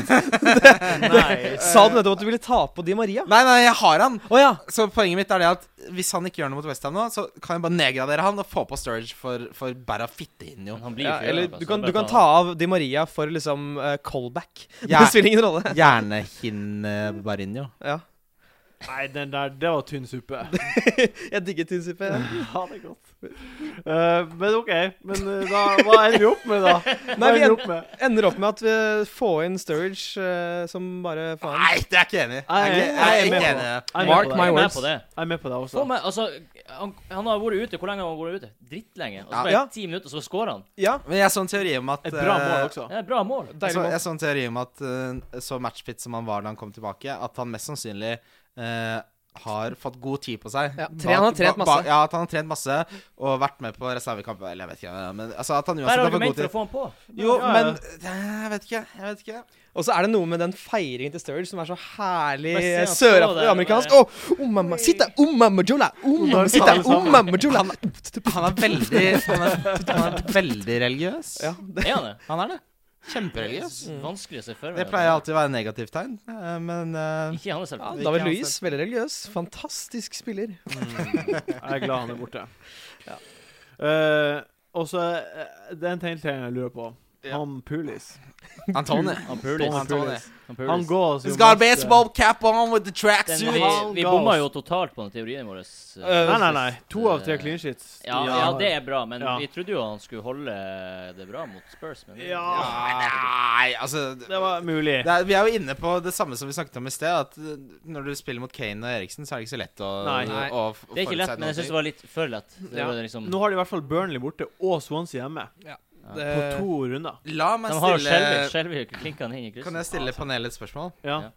Speaker 1: Nei.
Speaker 2: Eh.
Speaker 4: Sa du nettopp at du ville ta på Di Maria?
Speaker 2: Nei, nei, jeg har han.
Speaker 4: Å ja.
Speaker 2: Så poenget mitt er det at hvis han ikke gjør noe mot Westham nå, så kan jeg bare nedgradere han og få på Sturridge for, for bare å
Speaker 3: *laughs*
Speaker 2: fitte inn, jo.
Speaker 3: Men han blir jo
Speaker 4: ja
Speaker 3: ikke
Speaker 4: eller
Speaker 2: altså.
Speaker 3: Europa,
Speaker 4: du
Speaker 3: så
Speaker 4: kan,
Speaker 3: det
Speaker 4: du
Speaker 3: er
Speaker 4: kan
Speaker 3: bare
Speaker 4: ta av Di Maria for liksom eh, callback.
Speaker 2: Ja.
Speaker 4: Det spiller ingen rolle.
Speaker 2: Hjernehinne-Barinho.
Speaker 4: Ja.
Speaker 1: Nei, den der, det var tynn suppe.
Speaker 4: Jeg digger tynnsuppe. jeg.
Speaker 1: Ja, det er godt. Eh, men OK. Men eh, da, hva ender vi opp med, da? Hva
Speaker 4: *laughs* Nei, vi
Speaker 1: ender vi opp med?
Speaker 4: Ender opp med at vi eh, får inn Sturridge eh, som bare faen.
Speaker 2: Nei, det er jeg ikke enig i.
Speaker 1: Nei,
Speaker 2: Jeg er ikke-
Speaker 1: jeg er
Speaker 2: jeg er
Speaker 1: med på
Speaker 2: ikke enig. i det.
Speaker 1: Jeg er med
Speaker 4: Mark
Speaker 1: på det.
Speaker 3: Jeg
Speaker 4: my
Speaker 3: er med
Speaker 4: words.
Speaker 3: på det.
Speaker 1: Jeg er med på det også.
Speaker 3: Få
Speaker 2: Sånn
Speaker 3: meg, altså, han, han har vært ute Hvor lenge har han vært ute? Drittlenge. Og så
Speaker 2: Ja.
Speaker 3: ble
Speaker 4: Ja.
Speaker 3: det ti minutter, så skårer han.
Speaker 4: Ja,
Speaker 2: Men jeg så en teori om at
Speaker 1: Et bra
Speaker 2: eh,
Speaker 1: mål også.
Speaker 3: Det er et bra mål.
Speaker 2: Jeg
Speaker 4: deilig
Speaker 2: så,
Speaker 4: mål.
Speaker 2: Altså, jeg så en teori om at eh, så matchfit som han var da han kom tilbake, at han mest sannsynlig eh, har fått god tid på seg.
Speaker 4: Ja, tre- han har trent
Speaker 2: ba- ba-
Speaker 4: masse.
Speaker 2: Ja, at han har trent masse og vært med på reservekamper. Eller jeg vet ikke. Men altså, at han
Speaker 3: Det er
Speaker 2: uansett har fått
Speaker 3: argument
Speaker 2: god
Speaker 3: for å
Speaker 2: tid.
Speaker 3: få han på.
Speaker 1: Ja,
Speaker 2: Jo,
Speaker 1: ja.
Speaker 2: men eh, Jeg vet ikke. Jeg vet ikke.
Speaker 4: Og så er det noe med den feiringen til Sturridge som er så herlig
Speaker 3: Bare se han
Speaker 4: eh,
Speaker 3: stå der,
Speaker 4: søramerikansk.
Speaker 3: bare-
Speaker 4: Åh, oh, mamma, sitte, oh, mamma, jola, oh, mamma, sitte,
Speaker 1: alle
Speaker 4: oh,
Speaker 1: sammen.
Speaker 4: mamma, jola.
Speaker 2: Han er veldig Han er, han er veldig religiøs.
Speaker 4: Ja,
Speaker 3: *laughs*
Speaker 4: det,
Speaker 3: Er han det?
Speaker 2: Han er det.
Speaker 3: Det er
Speaker 2: Kjempereligiøs.
Speaker 3: s- vanskelig å se for meg.
Speaker 2: Det pleier alltid å være negativt tegn, eh, men eh,
Speaker 3: Ikke i hans
Speaker 4: ja,
Speaker 3: selvfølge.
Speaker 4: David Luiz, veldig religiøs. Fantastisk spiller.
Speaker 1: Mm. Jeg er glad han er
Speaker 2: *laughs*
Speaker 1: borte. Eh, og så eh, Det er en ting til jeg lurer på. Han Pulis.
Speaker 2: *laughs* Antony.
Speaker 3: Han Pulis.
Speaker 1: Donald
Speaker 2: Antony.
Speaker 1: Pulis.
Speaker 3: Han Pulis.
Speaker 1: Han går oss jo
Speaker 2: He's got a
Speaker 1: masse-
Speaker 2: baseball cap on with the
Speaker 3: Den,
Speaker 2: tracksuit.
Speaker 3: vi,
Speaker 1: Han
Speaker 3: vi
Speaker 1: ga
Speaker 3: bomma
Speaker 1: oss.
Speaker 3: jo totalt på den teorien vår. eh,
Speaker 1: Nei, nei,
Speaker 3: sist.
Speaker 1: nei. To av tre
Speaker 3: Eh,
Speaker 1: clean sheets.
Speaker 3: Ja, ja, det er bra, men
Speaker 1: Ja.
Speaker 3: vi trodde jo han skulle holde det bra mot Spurs. Men
Speaker 1: Ja.
Speaker 2: Nei, altså
Speaker 1: Det var mulig.
Speaker 2: Det er, vi er jo inne på det samme som vi snakket om i sted. At eh, når du spiller mot Kane og Eriksen, så er det ikke så lett å,
Speaker 1: Nei.
Speaker 4: Nei.
Speaker 2: å, f-
Speaker 3: Det er ikke
Speaker 2: forutse
Speaker 3: lett, men jeg
Speaker 2: noe.
Speaker 3: syns det var litt for lett. Det
Speaker 1: Ja.
Speaker 3: var liksom,
Speaker 1: Nå har de i hvert fall Burnley borte og Swansea hjemme
Speaker 4: Det,
Speaker 2: Eh.
Speaker 1: på to runder.
Speaker 2: La meg
Speaker 3: de har jo Skjelvik.
Speaker 2: stille
Speaker 3: Skjelvik klinka han inn i
Speaker 2: Kan
Speaker 3: krysset.
Speaker 2: jeg stille panelet et spørsmål?
Speaker 1: Ja.
Speaker 3: Ja.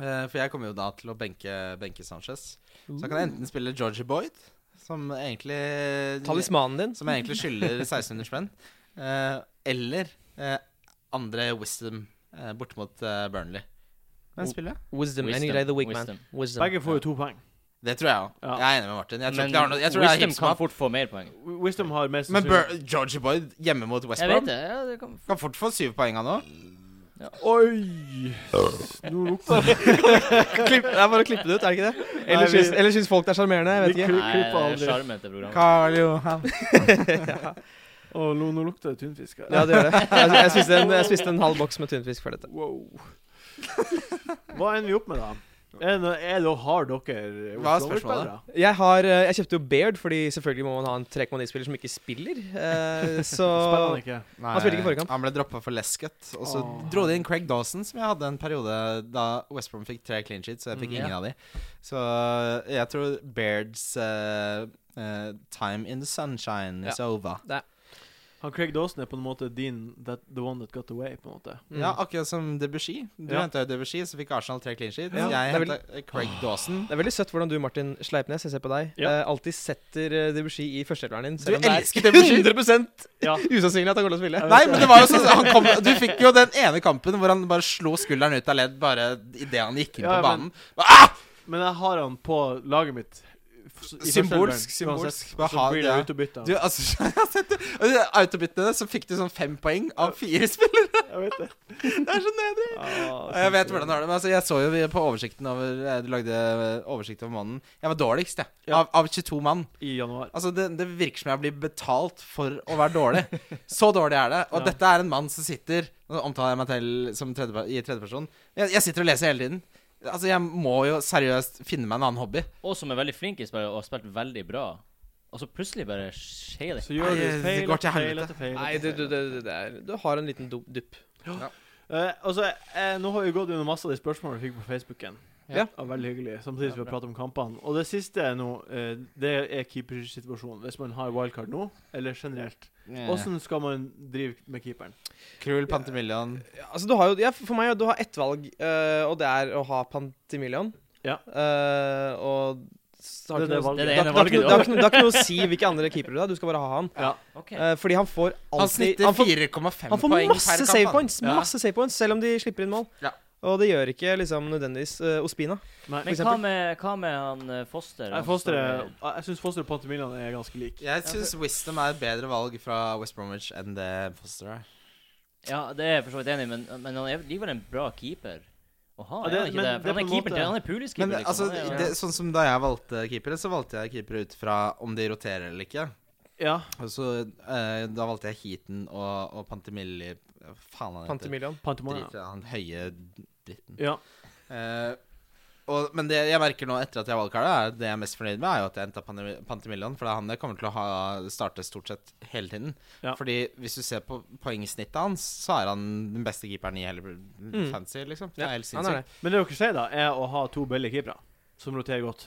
Speaker 2: Eh, for jeg kommer jo da til å benke, benke Sanchez. Så da kan jeg enten spille Georgie Boyd, som egentlig
Speaker 4: talismanen din.
Speaker 2: Som jeg egentlig skylder 1600 spenn. eh, eller eh, andre Wisdom eh, borte mot eh, Burnley.
Speaker 4: Oh.
Speaker 2: Hvem spiller jeg?
Speaker 4: Wisdom, any
Speaker 3: Wisdom,
Speaker 4: day the weak man.
Speaker 3: wisdom.
Speaker 4: Wisdom.
Speaker 1: Begge får jo to poeng.
Speaker 2: Det tror jeg òg.
Speaker 1: Ja.
Speaker 2: Jeg er enig med Martin. Jeg tror
Speaker 3: Men
Speaker 2: ikke det har noe Jeg tror det er
Speaker 3: Wisdom
Speaker 2: hipsmat.
Speaker 3: kan fort få mer poeng.
Speaker 1: Wisdom har mest
Speaker 2: Men
Speaker 1: sannsynlig-
Speaker 2: Bur Georgie Boyd hjemme mot West
Speaker 3: Jeg vet
Speaker 2: Brom
Speaker 3: det. Ja, det kan...
Speaker 2: kan fort få syv poeng av nå.
Speaker 1: Oi! Nå lukter det
Speaker 4: *laughs* Klipp, det er bare å klippe det ut, er det ikke det?
Speaker 1: Nei,
Speaker 4: Eller
Speaker 1: vi-
Speaker 4: syns, eller syns folk det er sjarmerende? Jeg vet
Speaker 1: Vi
Speaker 4: ikke.
Speaker 1: kli-
Speaker 3: Nei,
Speaker 1: klipper
Speaker 3: det er
Speaker 1: aldri.
Speaker 3: sjarmen til programmet.
Speaker 2: Karl Johan.
Speaker 1: Å, lo- nå lukter det tunfisk her.
Speaker 4: Ja, det gjør det. Jeg, jeg, spiste en, jeg spiste en halv boks med tunfisk før dette.
Speaker 1: Wow. *laughs* Hva ender vi opp med, da? Er det, er det, har dere
Speaker 2: Hva er
Speaker 1: Oslo-spillere?
Speaker 2: spørsmålet?
Speaker 4: Jeg, har, eh, jeg kjøpte jo Baird, fordi selvfølgelig må man ha en 3,9-spiller som ikke spiller. eh, Så
Speaker 1: Spiller han ikke?
Speaker 2: Nei,
Speaker 4: Han spilte ikke forrige kamp.
Speaker 2: Han ble droppa for Lescott. Og så
Speaker 1: Åh.
Speaker 2: dro de inn Craig Dawson, som jeg hadde en periode da West Brom fikk tre clean sheets, og jeg fikk
Speaker 3: Mm,
Speaker 2: ingen
Speaker 3: ja.
Speaker 2: av de. Så eh, jeg tror Bairds eh, eh, time in the sunshine is over.
Speaker 1: Han Craig Dawson er på en måte din that, The one that got away, på en måte.
Speaker 4: Mm.
Speaker 2: Ja, akkurat som Debussy. Du
Speaker 1: Ja.
Speaker 2: hentet henta Debussy, så fikk Arsenal tre clean sheets.
Speaker 4: Ja,
Speaker 2: Jeg
Speaker 4: det er vel-
Speaker 2: henta Craig Dawson.
Speaker 4: Det er veldig søtt hvordan du, Martin Sleipnes, jeg ser på deg,
Speaker 1: Ja.
Speaker 4: eh, alltid setter eh, Debussy i førsteelveren din.
Speaker 2: Du
Speaker 4: Selv om det er
Speaker 2: elsker Debussy!
Speaker 4: 100
Speaker 1: Ja.
Speaker 4: *laughs* usannsynlig at han går til å spille.
Speaker 2: Nei, men det var jo sånn han kom, Du fikk jo den ene kampen hvor han bare slo skulderen ut av ledd bare idet han gikk inn
Speaker 1: Ja,
Speaker 2: på
Speaker 1: men-
Speaker 2: banen. Ah!
Speaker 1: Men jeg har han på laget mitt. f- i første
Speaker 2: Symbolsk,
Speaker 1: elveren, uansett.
Speaker 2: symbolsk. Bare
Speaker 1: Så
Speaker 2: ha
Speaker 1: blir
Speaker 2: det.
Speaker 1: det ut og bytte
Speaker 2: Du,
Speaker 1: han.
Speaker 2: altså, *laughs* jeg har sett det. Og i Autobyttene så fikk du sånn fem poeng av fire spillere.
Speaker 1: Jeg vet det.
Speaker 2: *laughs* Det er så nedrig.
Speaker 1: Ah,
Speaker 2: Og Jeg vet hvordan det var det, men altså, jeg så jo vi- på oversikten over eh, Du lagde eh, oversikt over mannen. Jeg var dårligst, jeg.
Speaker 1: Ja.
Speaker 2: Av, av 22 mann.
Speaker 1: I januar.
Speaker 2: Altså, det, det virker som jeg blir betalt for å være dårlig. Så dårlig er det. Og
Speaker 4: *laughs*
Speaker 1: Ja.
Speaker 2: dette er en mann som sitter Nå omtaler jeg meg til som tredje, i tredjeperson. Jeg, jeg sitter og leser hele tiden. Altså, jeg må jo seriøst finne meg en annen hobby.
Speaker 3: Og som er veldig flink i spillet og har spilt veldig bra. Og så plutselig bare skjer det.
Speaker 1: Så gjør du
Speaker 2: Nei, det
Speaker 1: feil etter
Speaker 2: går til
Speaker 1: feil
Speaker 2: helvete.
Speaker 1: etter feil.
Speaker 4: Nei, du, du, du, du, det er, du har en liten du- dupp.
Speaker 1: Eh, altså, eh, nå har vi gått gjennom masse av de spørsmålene vi fikk på Facebooken.
Speaker 4: Ja.
Speaker 1: Og veldig hyggelig. Samtidig som vi har pratet om kampene. Og det siste nå, eh, det er keepersituasjonen. Hvis man har wildcard nå, eller generelt. Åssen skal man drive med keeperen?
Speaker 2: Krull, Pantemillion
Speaker 4: Ja, altså, du har jo, ja, for meg, du har ett valg, eh, og det er å ha Pantimillion.
Speaker 1: Ja.
Speaker 4: Eh, og så har
Speaker 1: Det er
Speaker 4: ikke
Speaker 1: det
Speaker 4: noe-
Speaker 1: valget.
Speaker 4: det
Speaker 3: Det
Speaker 4: har
Speaker 3: er det ene
Speaker 4: ikke noe- det har ikke noe- det har ikke noe å si hvilke andre keepere du har, du skal bare ha han.
Speaker 1: Ja.
Speaker 3: Ok.
Speaker 4: Eh, fordi han får alltid
Speaker 2: Han snitter
Speaker 4: han får-
Speaker 2: 4,5 poeng
Speaker 4: Han får masse save points, masse save points, selv om de slipper inn mål.
Speaker 2: Ja.
Speaker 4: Og det gjør ikke liksom nødvendigvis eh, Ospina.
Speaker 1: Nei.
Speaker 3: Men hva med, hva med han eh, Foster?
Speaker 1: Jeg,
Speaker 3: Han
Speaker 1: foster,
Speaker 3: står-
Speaker 1: jeg syns Foster og Pantemillion er ganske like.
Speaker 2: Jeg syns Wisdom er et bedre valg fra West Bromwich enn det Foster er.
Speaker 3: Ja, det er jeg for så vidt enig i, men, men han er likevel en bra keeper. Å ha,
Speaker 1: Ja,
Speaker 3: er
Speaker 1: det-
Speaker 3: han ikke
Speaker 1: men
Speaker 3: det?
Speaker 1: det er
Speaker 3: For han
Speaker 1: på
Speaker 3: er
Speaker 1: en
Speaker 3: keeper
Speaker 1: måte-
Speaker 3: til Han er puliskeeper,
Speaker 2: Men altså,
Speaker 3: Han er-
Speaker 2: det, sånn som da jeg valgte keepere, så valgte jeg keepere ut fra om de roterer eller ikke.
Speaker 1: Ja.
Speaker 2: Og så eh, Da valgte jeg Heaton og, og Pantemilli Faen, han heter
Speaker 4: Pantemillion.
Speaker 1: Pantemillion.
Speaker 2: Drit i han høye dritten.
Speaker 1: Ja.
Speaker 2: Eh, og, men det jeg merker nå etter at jeg valgkarta, er det jeg er mest fornøyd med, er jo at jeg endte opp Pante- Pantemillion. For det er han jeg kommer til å ha, starte stort sett hele tiden.
Speaker 1: Ja.
Speaker 2: Fordi hvis du ser på poengsnittet hans, så er han den beste keeperen i hele fancy, liksom. Det
Speaker 4: Ja,
Speaker 2: er helt
Speaker 4: Han er det.
Speaker 2: sinnssykt.
Speaker 1: Men det dere sier, da, er å ha to billige keepere som roterer godt.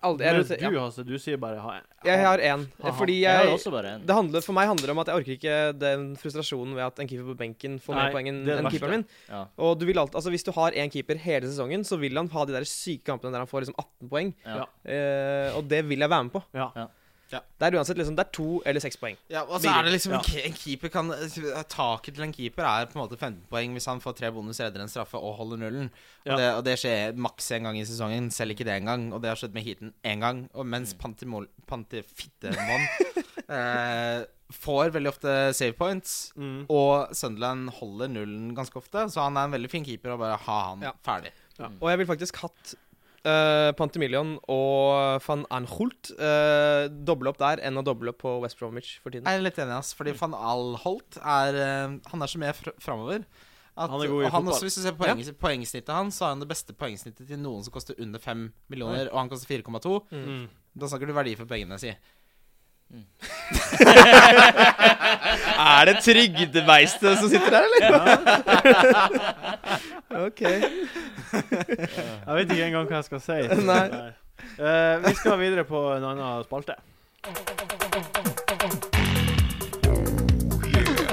Speaker 4: Aldri, jeg,
Speaker 1: Men
Speaker 4: roter-
Speaker 1: du,
Speaker 4: ja.
Speaker 1: Hasse, du sier bare ha en.
Speaker 4: jeg har én.
Speaker 1: Ha-ha.
Speaker 4: Fordi
Speaker 3: Jeg har
Speaker 4: jeg
Speaker 3: også bare en
Speaker 4: det handler, For meg handler det om at jeg orker ikke den frustrasjonen ved at en keeper på benken får
Speaker 1: Nei,
Speaker 4: mer poeng enn
Speaker 1: det er det
Speaker 4: enn
Speaker 1: verste.
Speaker 4: keeperen min.
Speaker 3: Ja.
Speaker 4: Og du vil alt, altså Hvis du har én keeper hele sesongen, så vil han ha de der syke kampene der han får liksom 18 poeng.
Speaker 3: Ja.
Speaker 4: Eh, og det vil jeg være med på.
Speaker 1: Ja.
Speaker 4: Det er uansett liksom, det er to eller seks poeng.
Speaker 2: Ja, og så er det liksom
Speaker 1: Ja.
Speaker 2: En keeper kan eh, Taket til en keeper er på en måte 15 poeng hvis han får tre bonus, redder en straffe og holder nullen.
Speaker 1: Ja.
Speaker 2: Og, det, og det skjer maks én gang i sesongen, selv ikke det engang. Og det har skjedd med heaten én gang. Og
Speaker 1: Mm.
Speaker 2: mens Pantimol... Pantifittemann *laughs* eh, får veldig ofte save points,
Speaker 1: Mm.
Speaker 2: og Sunderland holder nullen ganske ofte, så han er en veldig fin keeper, og bare ha han
Speaker 4: Ja.
Speaker 2: ferdig.
Speaker 4: Og jeg ville faktisk hatt uh, Pantemillion og van Anholt eh, doble opp der enn å doble opp på West Bromwich for tiden.
Speaker 2: Jeg er litt enig, ass. Fordi van Alholt er eh, Han er så med fr framover. At,
Speaker 1: Han er god i
Speaker 2: og han
Speaker 1: fotball.
Speaker 2: også, Hvis du ser poeng, poengsnittet hans, så har han det beste poengsnittet til noen som koster under 5 millioner, og han koster 4,2.
Speaker 1: Mm.
Speaker 2: Da snakker du verdi for pengene, si.
Speaker 4: *laughs* Er det trygdebeistet som sitter der, eller? OK.
Speaker 1: Jeg vet ikke engang hva jeg skal si.
Speaker 4: *laughs* Nei.
Speaker 1: Der. Eh, vi skal videre på en annen spalte.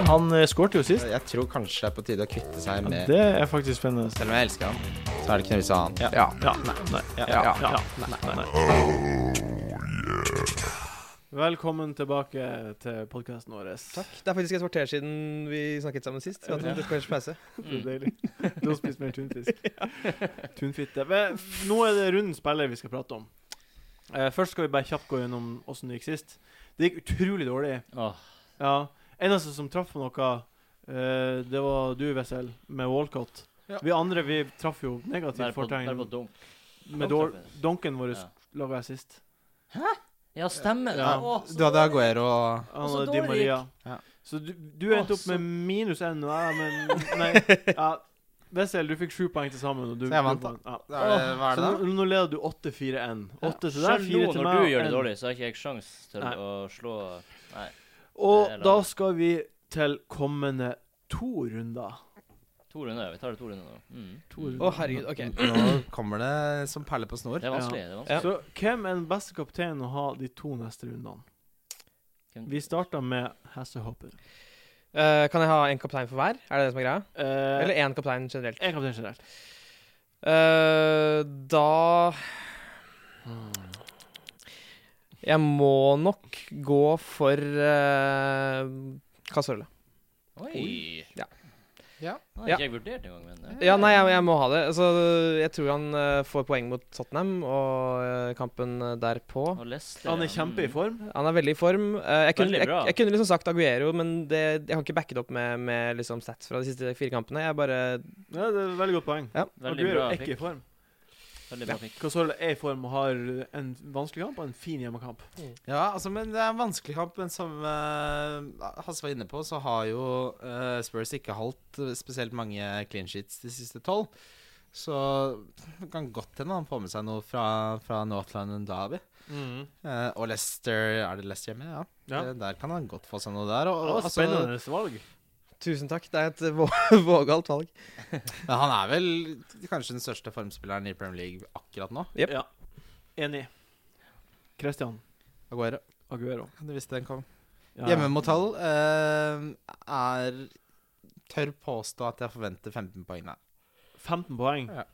Speaker 1: Han uh, skårte jo sist.
Speaker 2: Jeg tror kanskje det er på tide å kvitte seg med
Speaker 1: Det er faktisk spennende.
Speaker 2: Selv om jeg elsker han, så er det ikke noe vits i å ha han.
Speaker 1: Ja. Ja. Nei. Nei. Ja. Ja. Nei. Nei. Velkommen tilbake til podkasten vår.
Speaker 4: Takk. Det er faktisk et kvarter siden vi snakket sammen sist. Vi hadde en kvarters pause.
Speaker 1: Det er deilig. Du har spist mer
Speaker 4: *laughs*
Speaker 1: tunfisk. Tunfitte. Men nå er det rundens spiller vi skal prate om. Eh, først skal vi bare kjapt gå gjennom åssen det gikk sist. Det gikk utrolig dårlig.
Speaker 3: Mm. Åh,
Speaker 1: Ja. Eneste som traff på noe, eh, det var du, Wessel, med Walcott.
Speaker 2: Ja.
Speaker 1: Vi andre vi traff jo
Speaker 3: der
Speaker 1: negativt
Speaker 3: på, der på
Speaker 1: fortegn.
Speaker 3: dunk.
Speaker 1: Med
Speaker 3: Dunk
Speaker 1: dår-
Speaker 3: traff vi.
Speaker 1: donken vår
Speaker 3: Ja.
Speaker 1: laga jeg sist.
Speaker 3: Ja, stemmer det.
Speaker 1: Ja.
Speaker 3: Åh, så
Speaker 2: Du hadde
Speaker 3: dårlig.
Speaker 2: Aguero og
Speaker 1: Han
Speaker 3: Og så
Speaker 1: og Di
Speaker 3: dårlig
Speaker 1: Maria.
Speaker 2: Ja.
Speaker 1: Så du, du
Speaker 3: Å,
Speaker 1: endte opp
Speaker 3: så-
Speaker 1: med minus én, og jeg
Speaker 3: *laughs*
Speaker 1: men Nei. Ja, Wessel, du fikk sju poeng til sammen. Og du,
Speaker 2: Så jeg vant, da.
Speaker 1: Ja.
Speaker 2: Hva er det- Hva
Speaker 1: Så
Speaker 2: er det, da?
Speaker 1: nå, nå leder du 8-4-1. 8 til deg,
Speaker 3: Selv
Speaker 1: 4
Speaker 3: nå,
Speaker 1: til
Speaker 3: når
Speaker 1: meg.
Speaker 3: du gjør det
Speaker 1: en.
Speaker 3: dårlig, så har ikke jeg sjans til
Speaker 1: Nei.
Speaker 3: å slå Nei.
Speaker 1: Og
Speaker 3: Det er
Speaker 1: da
Speaker 3: lavt.
Speaker 1: skal vi til kommende to runder.
Speaker 3: To runder. Vi tar det to runder nå. Mm.
Speaker 1: To runder.
Speaker 4: Å, herregud. OK.
Speaker 2: Nå kommer det som perler på snor.
Speaker 3: Det er vanskelig. Det er vanskelig.
Speaker 4: Ja.
Speaker 1: Så hvem er den beste kapteinen å ha de to neste rundene?
Speaker 3: Hvem-
Speaker 1: Vi starter med Hasselhopper.
Speaker 4: Eh, kan jeg ha én kaptein for hver? Er det det som er greia?
Speaker 1: Eh,
Speaker 4: Eller én kaptein generelt?
Speaker 1: en kaptein generelt.
Speaker 4: Eh, da Jeg må nok gå for uh, Casorla.
Speaker 3: Oi!
Speaker 4: Ja.
Speaker 3: Den
Speaker 4: Ja.
Speaker 2: Ja.
Speaker 3: har ikke jeg vurdert engang, men eh,
Speaker 4: Ja, nei, jeg, jeg må ha det. Altså, jeg tror han eh, får poeng mot Tottenham og eh, kampen eh, derpå.
Speaker 3: Og Leicester,
Speaker 1: Han
Speaker 3: ja.
Speaker 1: er kjempe i
Speaker 3: Mm.
Speaker 1: form.
Speaker 4: Han er veldig i form. Eh, jeg, kunne,
Speaker 3: Veldig
Speaker 4: jeg,
Speaker 3: bra.
Speaker 4: jeg kunne liksom sagt Aguero, men det, jeg har ikke backet opp med, med liksom stats fra de siste fire kampene. Jeg bare
Speaker 1: Ja, det er et veldig godt poeng. Og du
Speaker 3: Veldig
Speaker 1: er jo
Speaker 3: bra
Speaker 1: ikke
Speaker 3: pick.
Speaker 1: i form.
Speaker 3: Veldig bra pick.
Speaker 1: Casorla er i form og har en vanskelig kamp og en fin hjemmekamp.
Speaker 2: Ja, altså, men det er en vanskelig kamp. Men som eh, Hasse var inne på, så har jo eh, Spurs ikke holdt eh, spesielt mange clean sheets de siste tolv. Så det kan godt hende han får med seg noe fra, fra Northland Derby.
Speaker 1: Mm.
Speaker 2: Eh, og Leicester Er det Leicester hjemme? Ja.
Speaker 1: Ja.
Speaker 2: Det, der kan han godt få seg noe der. Og,
Speaker 1: Det var
Speaker 2: og,
Speaker 1: et
Speaker 2: altså,
Speaker 1: spennende valg.
Speaker 4: Tusen takk. Det er et *laughs* vå- vågalt valg.
Speaker 2: men han er vel kanskje den største formspilleren i Premier League akkurat nå.
Speaker 4: Jep.
Speaker 1: Ja. Enig. Christian
Speaker 2: Aguero.
Speaker 1: Aguero.
Speaker 2: Du visste den kom.
Speaker 1: Ja.
Speaker 2: Hjemme mot Hull eh, er Tør påstå at jeg forventer 15 poeng der.
Speaker 1: 15 poeng.
Speaker 2: Ja.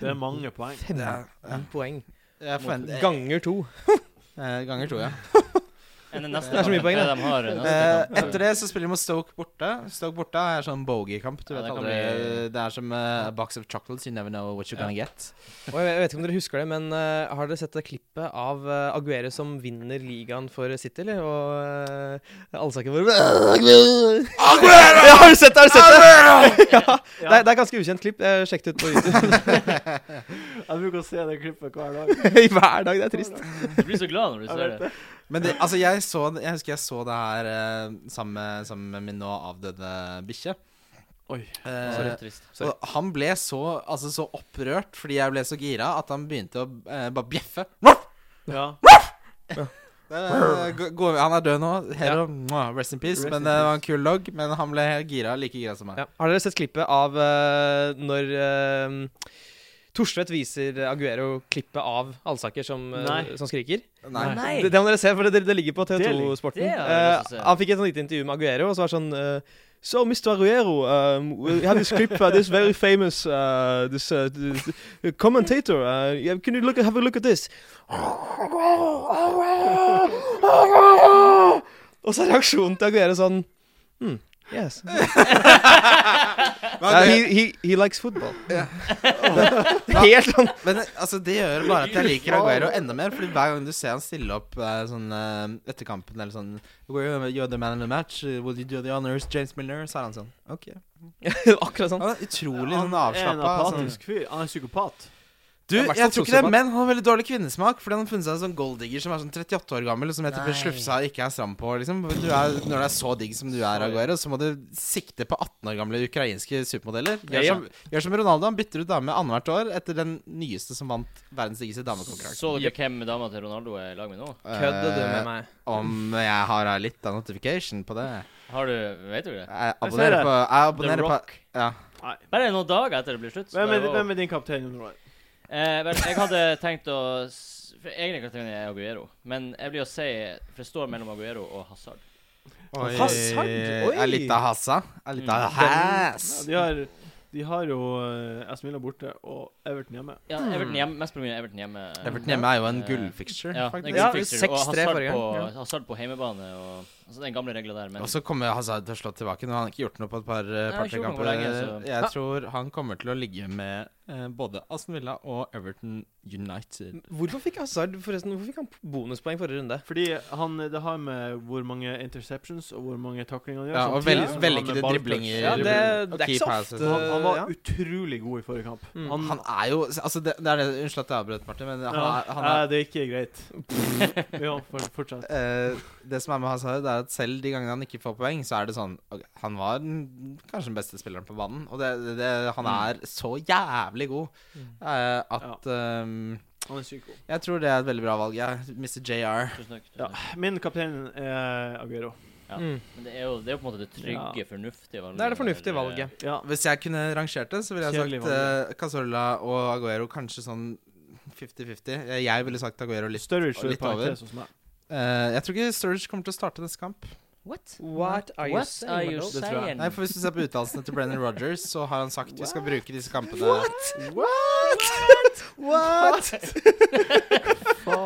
Speaker 1: Det er mange poeng.
Speaker 4: Fem
Speaker 2: Det er- ja.
Speaker 4: poeng.
Speaker 2: Jeg forventer
Speaker 4: Ganger to.
Speaker 2: Eh, ganger to, ja.
Speaker 3: Men neste
Speaker 4: Det er så mye
Speaker 3: kamp,
Speaker 4: poeng,
Speaker 3: det de har neste
Speaker 2: Eh,
Speaker 3: kamp.
Speaker 2: etter det så spiller vi mot Stoke borte. Stoke borte er sånn bogeykamp. Du
Speaker 3: Ja,
Speaker 2: vet
Speaker 3: det kan
Speaker 2: aldri
Speaker 3: bli-
Speaker 2: Det er som eh, a box of chocolates. You never know what you're gonna get.
Speaker 4: Og jeg, jeg vet ikke om dere husker det, men eh, har dere sett det klippet av eh, Aguero som vinner ligaen for City, eller? Og uh, allsaken vår *laughs* Aguero! Ja, har du sett det? Har du sett det? ja.
Speaker 1: Ja.
Speaker 4: Det, er, det er et ganske ukjent klipp. Jeg sjekket det ut på YouTube *laughs*
Speaker 1: Jeg bruker å se det klippet hver dag.
Speaker 4: i hver dag. Det er trist.
Speaker 3: Du blir så glad når du
Speaker 1: Jeg
Speaker 3: ser
Speaker 1: vet
Speaker 3: det.
Speaker 2: Men det, altså, jeg, så, jeg husker jeg så det her eh, sammen, med- sammen med min nå avdøde bikkje.
Speaker 1: Oi.
Speaker 3: Så
Speaker 2: Eh,
Speaker 3: litt trist.
Speaker 4: Sorry.
Speaker 2: og han ble så, altså, så opprørt fordi jeg ble så gira, at han begynte å eh, bare bjeffe. Ruff!
Speaker 1: Ja.
Speaker 2: Eh, gå- gå- Han er død nå. Hero, mwah, rest in peace.
Speaker 1: Rest
Speaker 2: men
Speaker 1: in
Speaker 2: det var en kul logg, men han ble helt gira, like gira som meg.
Speaker 4: Ja. Har dere sett klippet av eh, når uh, Torstvedt viser Aguero klippet av Alsaker som, eh,
Speaker 1: Nei.
Speaker 4: som skriker?
Speaker 2: Nei.
Speaker 1: Nei.
Speaker 4: Det, det må dere se, for det, det ligger på
Speaker 1: Det ligger-
Speaker 4: TV2-sporten.
Speaker 3: det har jeg lyst til å se.
Speaker 4: han fikk et sånt lite intervju med Aguero, og så var det sånn eh, So, Mr. Aguero, um, we have this clip, uh, this very famous uh, this, uh, th- th- commentator. Uh, yeah, can you look, have a look at this? Og så er reaksjonen til Aguero sånn hmm, Yes.
Speaker 2: Men,
Speaker 4: Uh,
Speaker 2: det,
Speaker 4: he, he, he likes football. *laughs* Helt
Speaker 3: *laughs*
Speaker 4: sånn
Speaker 2: men altså, det gjør bare at jeg liker Aguero enda mer, Fordi hver gang du ser han stille opp eh, sånn eh, etter kampen eller sånn "Aguero, You're the man in the match. Will you do the honors, James Milner? Så er han sånn. OK.
Speaker 4: Akkurat sånn.
Speaker 2: Han er utrolig
Speaker 1: Han er
Speaker 2: sånn
Speaker 1: en
Speaker 2: avslappa. Sånn.
Speaker 1: apatisk fyr. Han er psykopat.
Speaker 2: Du,
Speaker 4: Ja, i hvert fall
Speaker 2: jeg tror ikke det,
Speaker 4: sosiopat.
Speaker 2: men han har veldig dårlig kvinnesmak. Fordi han har funnet seg en sånn golddigger som er sånn 38 år gammel, og som jeg tipper
Speaker 3: Nei.
Speaker 2: slufsa ikke er stram på. Liksom. Du er, når du er så digg som du er, Aguero, så må du sikte på 18 år gamle ukrainske supermodeller. Gjør som, gjør som Ronaldo, han bytter ut dame annethvert år etter den nyeste som vant verdens diggeste damekonkurranse.
Speaker 3: Så dere hvem dama til Ronaldo er i lag med nå?
Speaker 4: Kødder du med meg?
Speaker 2: Eh, Om jeg har eh, litt av notification på det?
Speaker 3: Har du Vet du det?
Speaker 2: Jeg
Speaker 1: Jeg ser
Speaker 2: abonnerer
Speaker 1: det.
Speaker 2: på Jeg
Speaker 3: The
Speaker 2: abonnerer på
Speaker 3: Rock.
Speaker 2: Ja.
Speaker 1: Nei.
Speaker 3: Bare noen dager etter det blir slutt. så
Speaker 1: Hvem
Speaker 3: det
Speaker 1: er,
Speaker 3: var-
Speaker 1: hvem er din kaptein under år?
Speaker 3: Eh, vel, jeg hadde tenkt å s- for Egentlig kategorien er Aguero, men jeg blir å si For det står mellom Aguero og Hazard.
Speaker 4: Oi. Hazard, oi.
Speaker 2: Er litt av hassa. Er litt
Speaker 3: Mm.
Speaker 2: av hass.
Speaker 1: Ja, de, har, de har jo eh, Aston Villa borte og Everton hjemme.
Speaker 3: Ja, Everton hjemme, mest på grunn av Everton hjemme.
Speaker 2: Everton hjemme er jo en
Speaker 3: Eh,
Speaker 2: gullfixture,
Speaker 3: Ja, det
Speaker 2: faktisk.
Speaker 3: er
Speaker 4: Ja,
Speaker 3: gull fixture, og
Speaker 4: 6-3
Speaker 3: Hazard
Speaker 4: forrige
Speaker 3: på,
Speaker 4: gang, ja.
Speaker 3: Hazard på heimebane og altså, den gamle regla der, men
Speaker 2: Og så kommer Hazard til å slå tilbake. Nå har han ikke gjort noe på et par eh,
Speaker 3: Nei,
Speaker 2: par-tre
Speaker 3: ikke gjort noe på
Speaker 2: kamper. Eh,
Speaker 3: lenge, så-
Speaker 2: Jeg tror han kommer til å ligge med eh, både Aston Villa og Everton United.
Speaker 4: Hvorfor fikk Hazard forresten Hvorfor fikk han bonuspoeng forrige runde?
Speaker 1: Fordi han, det har med hvor mange interceptions og hvor mange taklinger han gjør.
Speaker 2: Ja, og
Speaker 1: samtidig
Speaker 2: vel-
Speaker 1: som han har
Speaker 2: vellykkede
Speaker 1: med balltouch.
Speaker 2: driblinger.
Speaker 4: Ja, det,
Speaker 2: Og
Speaker 4: det er
Speaker 2: key
Speaker 4: ikke så
Speaker 2: passes.
Speaker 1: Så
Speaker 4: ofte.
Speaker 1: altså. Han, han var
Speaker 4: ja.
Speaker 1: utrolig god i forrige kamp.
Speaker 4: Mm.
Speaker 1: Han,
Speaker 2: Han er jo Altså, det, det er det Unnskyld at jeg avbrøt, Martin, men han
Speaker 1: ja,
Speaker 2: er, han er
Speaker 1: eh, Det er ikke
Speaker 2: *laughs*
Speaker 1: greit. ja, for, fortsett.
Speaker 2: eh, det som er med Hazard, er at selv de gangene han ikke får poeng, så er det sånn ok, Han var den, kanskje den beste spilleren på banen, og det, det, det, han
Speaker 1: Mm.
Speaker 2: er så jævlig god eh, at eh,
Speaker 1: Han er syk god.
Speaker 2: Jeg tror det er et veldig bra valg, jeg. Mr. JR.
Speaker 3: tusen takk. tusen
Speaker 1: Ja,
Speaker 3: takk.
Speaker 1: min kaptein er Aguero.
Speaker 3: Ja.
Speaker 4: Mm.
Speaker 3: Men det er, jo, det er jo på en måte det trygge,
Speaker 1: Ja.
Speaker 3: fornuftige valget.
Speaker 4: Det er det fornuftige valget.
Speaker 1: Ja.
Speaker 2: Hvis jeg kunne rangert det, så ville jeg
Speaker 1: Kjedelig
Speaker 2: sagt
Speaker 1: valg.
Speaker 2: eh, Cazorla og Aguero kanskje sånn 50-50. Eh, Jeg ville sagt Aguero litt.
Speaker 1: Sturridge står i
Speaker 2: litt over.
Speaker 1: parentes hos meg.
Speaker 2: Eh, jeg tror ikke Sturridge kommer til å starte neste kamp.
Speaker 3: What?
Speaker 4: What are you
Speaker 3: What
Speaker 4: saying,
Speaker 3: are you
Speaker 4: Mardal?
Speaker 1: Det tror jeg.
Speaker 3: saying?
Speaker 2: Nei, for Hvis du ser på uttalelsene til Brennan Rogers, så har han sagt vi skal bruke disse kampene
Speaker 4: What? What?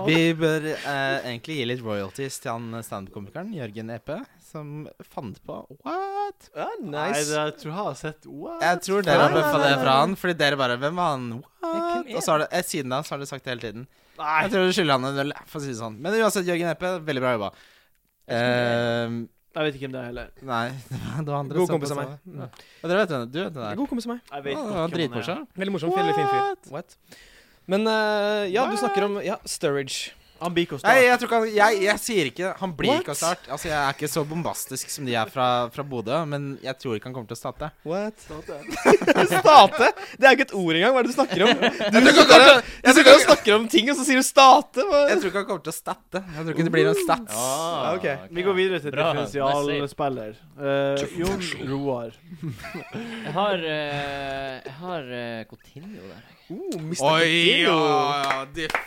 Speaker 2: Vi bør eh, egentlig gi litt royalties til han standup-komikeren Jørgen Epe, som fant på What?
Speaker 4: Ah,
Speaker 1: Nei,
Speaker 4: nice.
Speaker 1: det jeg tror jeg har sett What?
Speaker 2: Jeg tror dere har
Speaker 4: Nei, nei,
Speaker 2: bøffa det
Speaker 4: nei,
Speaker 2: fra han, fordi dere bare Hvem var han?
Speaker 3: Ja,
Speaker 2: What?
Speaker 3: hvem er
Speaker 2: Og så har det, eh, siden da så har dere sagt det hele tiden.
Speaker 1: Nei,
Speaker 2: Jeg tror du skylder han en øl, for å si det sånn. Men uansett, Jørgen Eppe, veldig bra jobba. Ehm,
Speaker 1: jeg vet ikke hvem det er heller.
Speaker 2: nei, *laughs* det var det var andre
Speaker 4: God
Speaker 2: som
Speaker 4: kompis av
Speaker 2: sa
Speaker 4: meg.
Speaker 2: det. Ja, dere vet hvem du vet hvem det er.
Speaker 4: God kompis av meg.
Speaker 1: Jeg
Speaker 2: Ja,
Speaker 1: vet
Speaker 2: det
Speaker 1: ikke
Speaker 2: var
Speaker 1: hvem han er.
Speaker 2: dritmorsom.
Speaker 4: Veldig morsom fyr. veldig Fin fyr. What? Men eh, ja, du snakker om ja, Sturridge.
Speaker 1: Han blir ikke å
Speaker 2: Nei,
Speaker 1: starte.
Speaker 2: jeg tror ikke han Jeg, jeg sier ikke Han blir
Speaker 4: What?
Speaker 2: ikke å starte. Altså, jeg er ikke så bombastisk som de er fra, fra Bodø, men jeg tror ikke han kommer til å starte.
Speaker 4: What?
Speaker 1: Starte.
Speaker 4: *laughs* State? Det er jo ikke et ord engang. Hva er det du snakker om? Du
Speaker 2: tror ikke han
Speaker 4: snakker,
Speaker 2: kommer-
Speaker 4: du snakker, og snakker om ting, og så sier du state? Hva?
Speaker 2: Jeg tror ikke han kommer til å statte. Jeg tror ikke det blir noen stats.
Speaker 3: Ah,
Speaker 4: Ja, ok.
Speaker 1: Vi går videre til
Speaker 3: Bra.
Speaker 1: differensialspiller. Eh, Jon
Speaker 2: *laughs*
Speaker 1: Roar.
Speaker 3: Jeg har eh, Jeg har eh, Coutinho der.
Speaker 4: Oh, Mr.
Speaker 2: Oi,
Speaker 4: Coutinho.
Speaker 2: ja,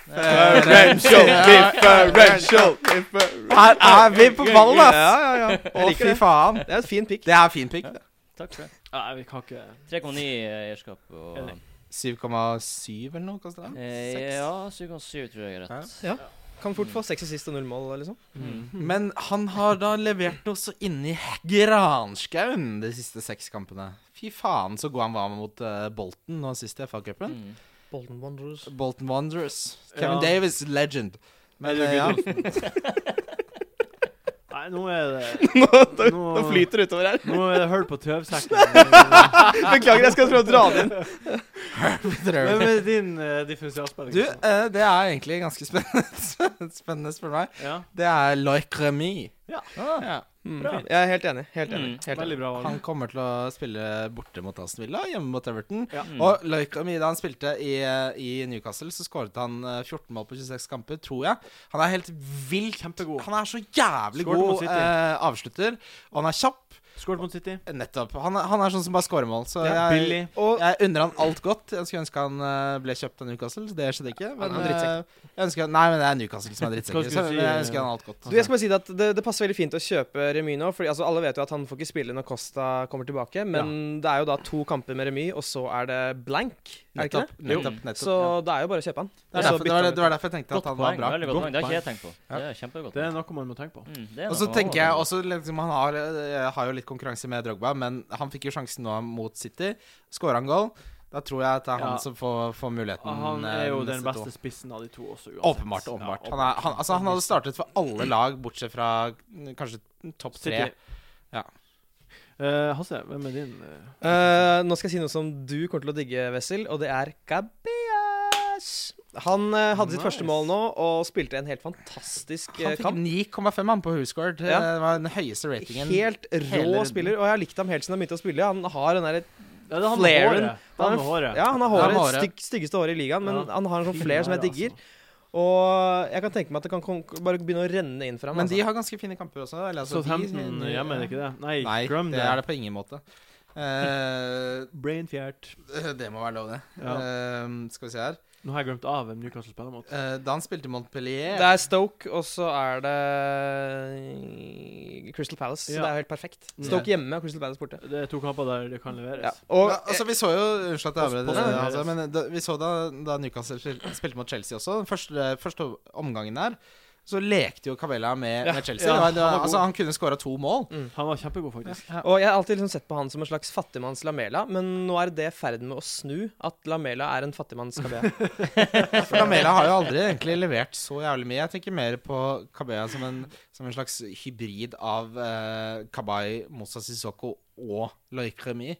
Speaker 2: ja
Speaker 4: Differential, differential, differential.
Speaker 2: Her er vi på ballen, ass!
Speaker 4: Ja, ja, ja.
Speaker 2: Å,
Speaker 4: Jeg liker
Speaker 2: fy
Speaker 4: det.
Speaker 2: faen.
Speaker 4: Det er et fint pikk.
Speaker 2: Det er fin pick. det.
Speaker 3: Takk for det.
Speaker 1: Nei, vi kan ikke
Speaker 3: 3,9 eierskap og
Speaker 1: Enig.
Speaker 2: 7,7 eller noe koster det?
Speaker 3: eh, Ja, 7,7 tror jeg er rett.
Speaker 4: Ja. Kan fort få seks assist og null mål, liksom.
Speaker 3: Mm.
Speaker 2: Men han har da levert noe så inni granskauen de siste seks kampene. Fy faen, så god han var mot eh, Bolton nå sist i FA-cupen.
Speaker 3: Mm.
Speaker 4: Bolton Wanderers. *laughs*
Speaker 2: Bolton Wanderers. Kevin
Speaker 1: Ja.
Speaker 2: Davis, legend. Men
Speaker 1: Eller
Speaker 2: eh, ja,
Speaker 1: *laughs* Nei, nå er
Speaker 2: *laughs*
Speaker 1: det
Speaker 4: Nå,
Speaker 1: Nå-
Speaker 4: nå flyter det utover her.
Speaker 2: *laughs*
Speaker 1: Nå er det hull på tøvsekken.
Speaker 4: Beklager, jeg skal prøve å dra det inn.
Speaker 1: Men
Speaker 2: Trøbbel.
Speaker 1: med din uh, differensialspilling
Speaker 2: Du, eh, det er egentlig ganske spennende, *laughs* spennende spør du meg.
Speaker 1: ja.
Speaker 2: Det er Like Remy.
Speaker 3: Ah,
Speaker 2: Ja.
Speaker 4: Mm.
Speaker 1: Bra.
Speaker 4: Jeg er helt enig. Helt enig.
Speaker 3: Mm.
Speaker 4: Helt enig.
Speaker 1: Veldig bra
Speaker 2: Han
Speaker 1: valg.
Speaker 2: kommer til å spille borte mot Aston Villa, hjemme mot Everton.
Speaker 1: Ja.
Speaker 3: Mm.
Speaker 2: Og Like Remy, da han spilte i, eh, i Newcastle, så skåret han eh, 14 mål på 26 kamper, tror jeg. Han er helt vilt
Speaker 1: Kjempegod.
Speaker 2: Han er så jævlig
Speaker 1: Skåret mot
Speaker 2: god
Speaker 1: City.
Speaker 2: eh, avslutter. Og han er kjapp.
Speaker 1: Skåret mot City.
Speaker 2: Nettopp. Han er, han er sånn som bare skårer mål. Så
Speaker 1: Ja,
Speaker 2: jeg,
Speaker 1: billig.
Speaker 4: Og
Speaker 2: jeg unner han alt godt. Jeg skulle ønske han eh, ble kjøpt av Newcastle. Det skjedde ikke. Men,
Speaker 4: Han er drittsekk.
Speaker 2: eh, jeg ønsker, nei, men det er Newcastle som er
Speaker 1: Hva
Speaker 2: drittsekker.
Speaker 1: skulle
Speaker 2: Så
Speaker 1: du si,
Speaker 2: jeg
Speaker 1: eh,
Speaker 2: ønsker han alt godt.
Speaker 4: du, jeg skal bare si det at det, det passer veldig fint å kjøpe Remy nå. Fordi, altså, alle vet jo at han får ikke spille når Costa kommer tilbake, men det er jo da to kamper med Remy, og så er det blank. Er det ikke
Speaker 2: Nettopp.
Speaker 4: det?
Speaker 2: nettopp, nettopp
Speaker 4: Så det er jo bare å kjøpe han.
Speaker 2: ja. det, er
Speaker 4: Og så
Speaker 2: derfor, det,
Speaker 4: bytter
Speaker 2: var,
Speaker 4: han ut.
Speaker 2: det var derfor jeg tenkte
Speaker 3: Godt
Speaker 2: at han var
Speaker 3: poeng.
Speaker 2: bra.
Speaker 3: Veldig godt
Speaker 1: Godt
Speaker 3: poeng. Det har
Speaker 1: poeng.
Speaker 3: ikke jeg tenkt på.
Speaker 2: Ja.
Speaker 3: Det er kjempegodt.
Speaker 1: Det er noe man må tenke på.
Speaker 3: Mm, det er
Speaker 2: Og så
Speaker 3: noe
Speaker 2: tenker jeg
Speaker 3: overraskende.
Speaker 2: også liksom, Han har, eh, har jo litt konkurranse med Drogba, men han fikk jo sjansen nå mot City. Skåra han goal. Da tror jeg at det er han
Speaker 1: Ja.
Speaker 2: som får, får muligheten.
Speaker 1: Ah, Han
Speaker 2: eh,
Speaker 1: er jo
Speaker 2: de
Speaker 1: den
Speaker 2: neste to.
Speaker 1: beste spissen av de to også. uansett.
Speaker 2: Åpenbart. åpenbart.
Speaker 1: Ja,
Speaker 2: Han, er, han, altså, han hadde startet for alle lag, bortsett fra mm, kanskje topp tre.
Speaker 1: City.
Speaker 2: Ja.
Speaker 1: Eh, Hasse, hvem er din eh,
Speaker 4: Eh, nå skal jeg si noe som du kommer til å digge, Wessel, og det er Gabias. Han eh, hadde sitt
Speaker 1: Nice.
Speaker 4: første mål nå og spilte en helt fantastisk eh,
Speaker 2: Han fikk
Speaker 4: kamp.
Speaker 2: 9,5 han på Whoscored.
Speaker 4: Ja.
Speaker 2: Det var den høyeste ratingen.
Speaker 4: Helt
Speaker 2: hele
Speaker 4: rå
Speaker 2: runden.
Speaker 4: spiller, og jeg har likt ham helt siden han begynte å spille. Han har den der,
Speaker 1: Ja, det er han med
Speaker 4: Flaren.
Speaker 1: håret. Det er han med håret.
Speaker 4: ja, han har
Speaker 2: Han
Speaker 4: håret,
Speaker 2: har håret.
Speaker 4: Stygg, styggeste håret i ligaen, men
Speaker 1: Ja.
Speaker 4: han har en sånn
Speaker 1: Fin
Speaker 4: flair som
Speaker 1: her,
Speaker 4: jeg digger.
Speaker 1: altså.
Speaker 4: Og jeg kan tenke meg at det kan kon- bare begynne å renne inn for ham.
Speaker 2: Men de
Speaker 4: Altså.
Speaker 2: har ganske fine kamper også. Eller, altså,
Speaker 1: Southampton eh,
Speaker 2: de- eh,
Speaker 1: hjemme, er det ikke det? Nei,
Speaker 2: Nei,
Speaker 1: Grum
Speaker 2: det er det på ingen måte. Eh, *laughs*
Speaker 1: Brainfjert.
Speaker 2: det må være lov, det.
Speaker 1: Ja.
Speaker 2: Eh, skal vi se her.
Speaker 1: Nå har jeg glemt av hvem Newcastle spiller mot.
Speaker 2: Eh, da han spilte Montpellier
Speaker 4: Det er Stoke, og så er det eh, Crystal Palace. Så
Speaker 1: Ja.
Speaker 4: det er jo helt perfekt.
Speaker 1: Mm.
Speaker 4: Stoke hjemme og Crystal Palace borte.
Speaker 1: Det er to kamper der det kan leveres.
Speaker 4: Ja. Og
Speaker 2: Men, altså, vi så jo Unnskyld at jeg avbrøt,
Speaker 1: Post-
Speaker 2: eh,
Speaker 1: post-
Speaker 2: altså, men da, vi så da, da Newcastle spil- spilte mot Chelsea også, den første, første omgangen der, så lekte jo Cavella med,
Speaker 1: Ja,
Speaker 2: med Chelsea.
Speaker 1: ja,
Speaker 2: Det var- det var,
Speaker 1: han var
Speaker 2: altså,
Speaker 1: god.
Speaker 2: han kunne skåra to mål.
Speaker 1: Han var kjempegod, faktisk.
Speaker 4: Og jeg har alltid liksom sett på han som en slags fattigmanns Lamela, men nå er det i ferd med å snu, at Lamela er en fattigmanns Kabea.
Speaker 2: For
Speaker 1: *laughs*
Speaker 2: Lamela har jo aldri egentlig levert så jævlig mye. Jeg tenker mer på Kabea som en, som en slags hybrid av eh, Kabay, Moussa Sissoko og Loic Remy.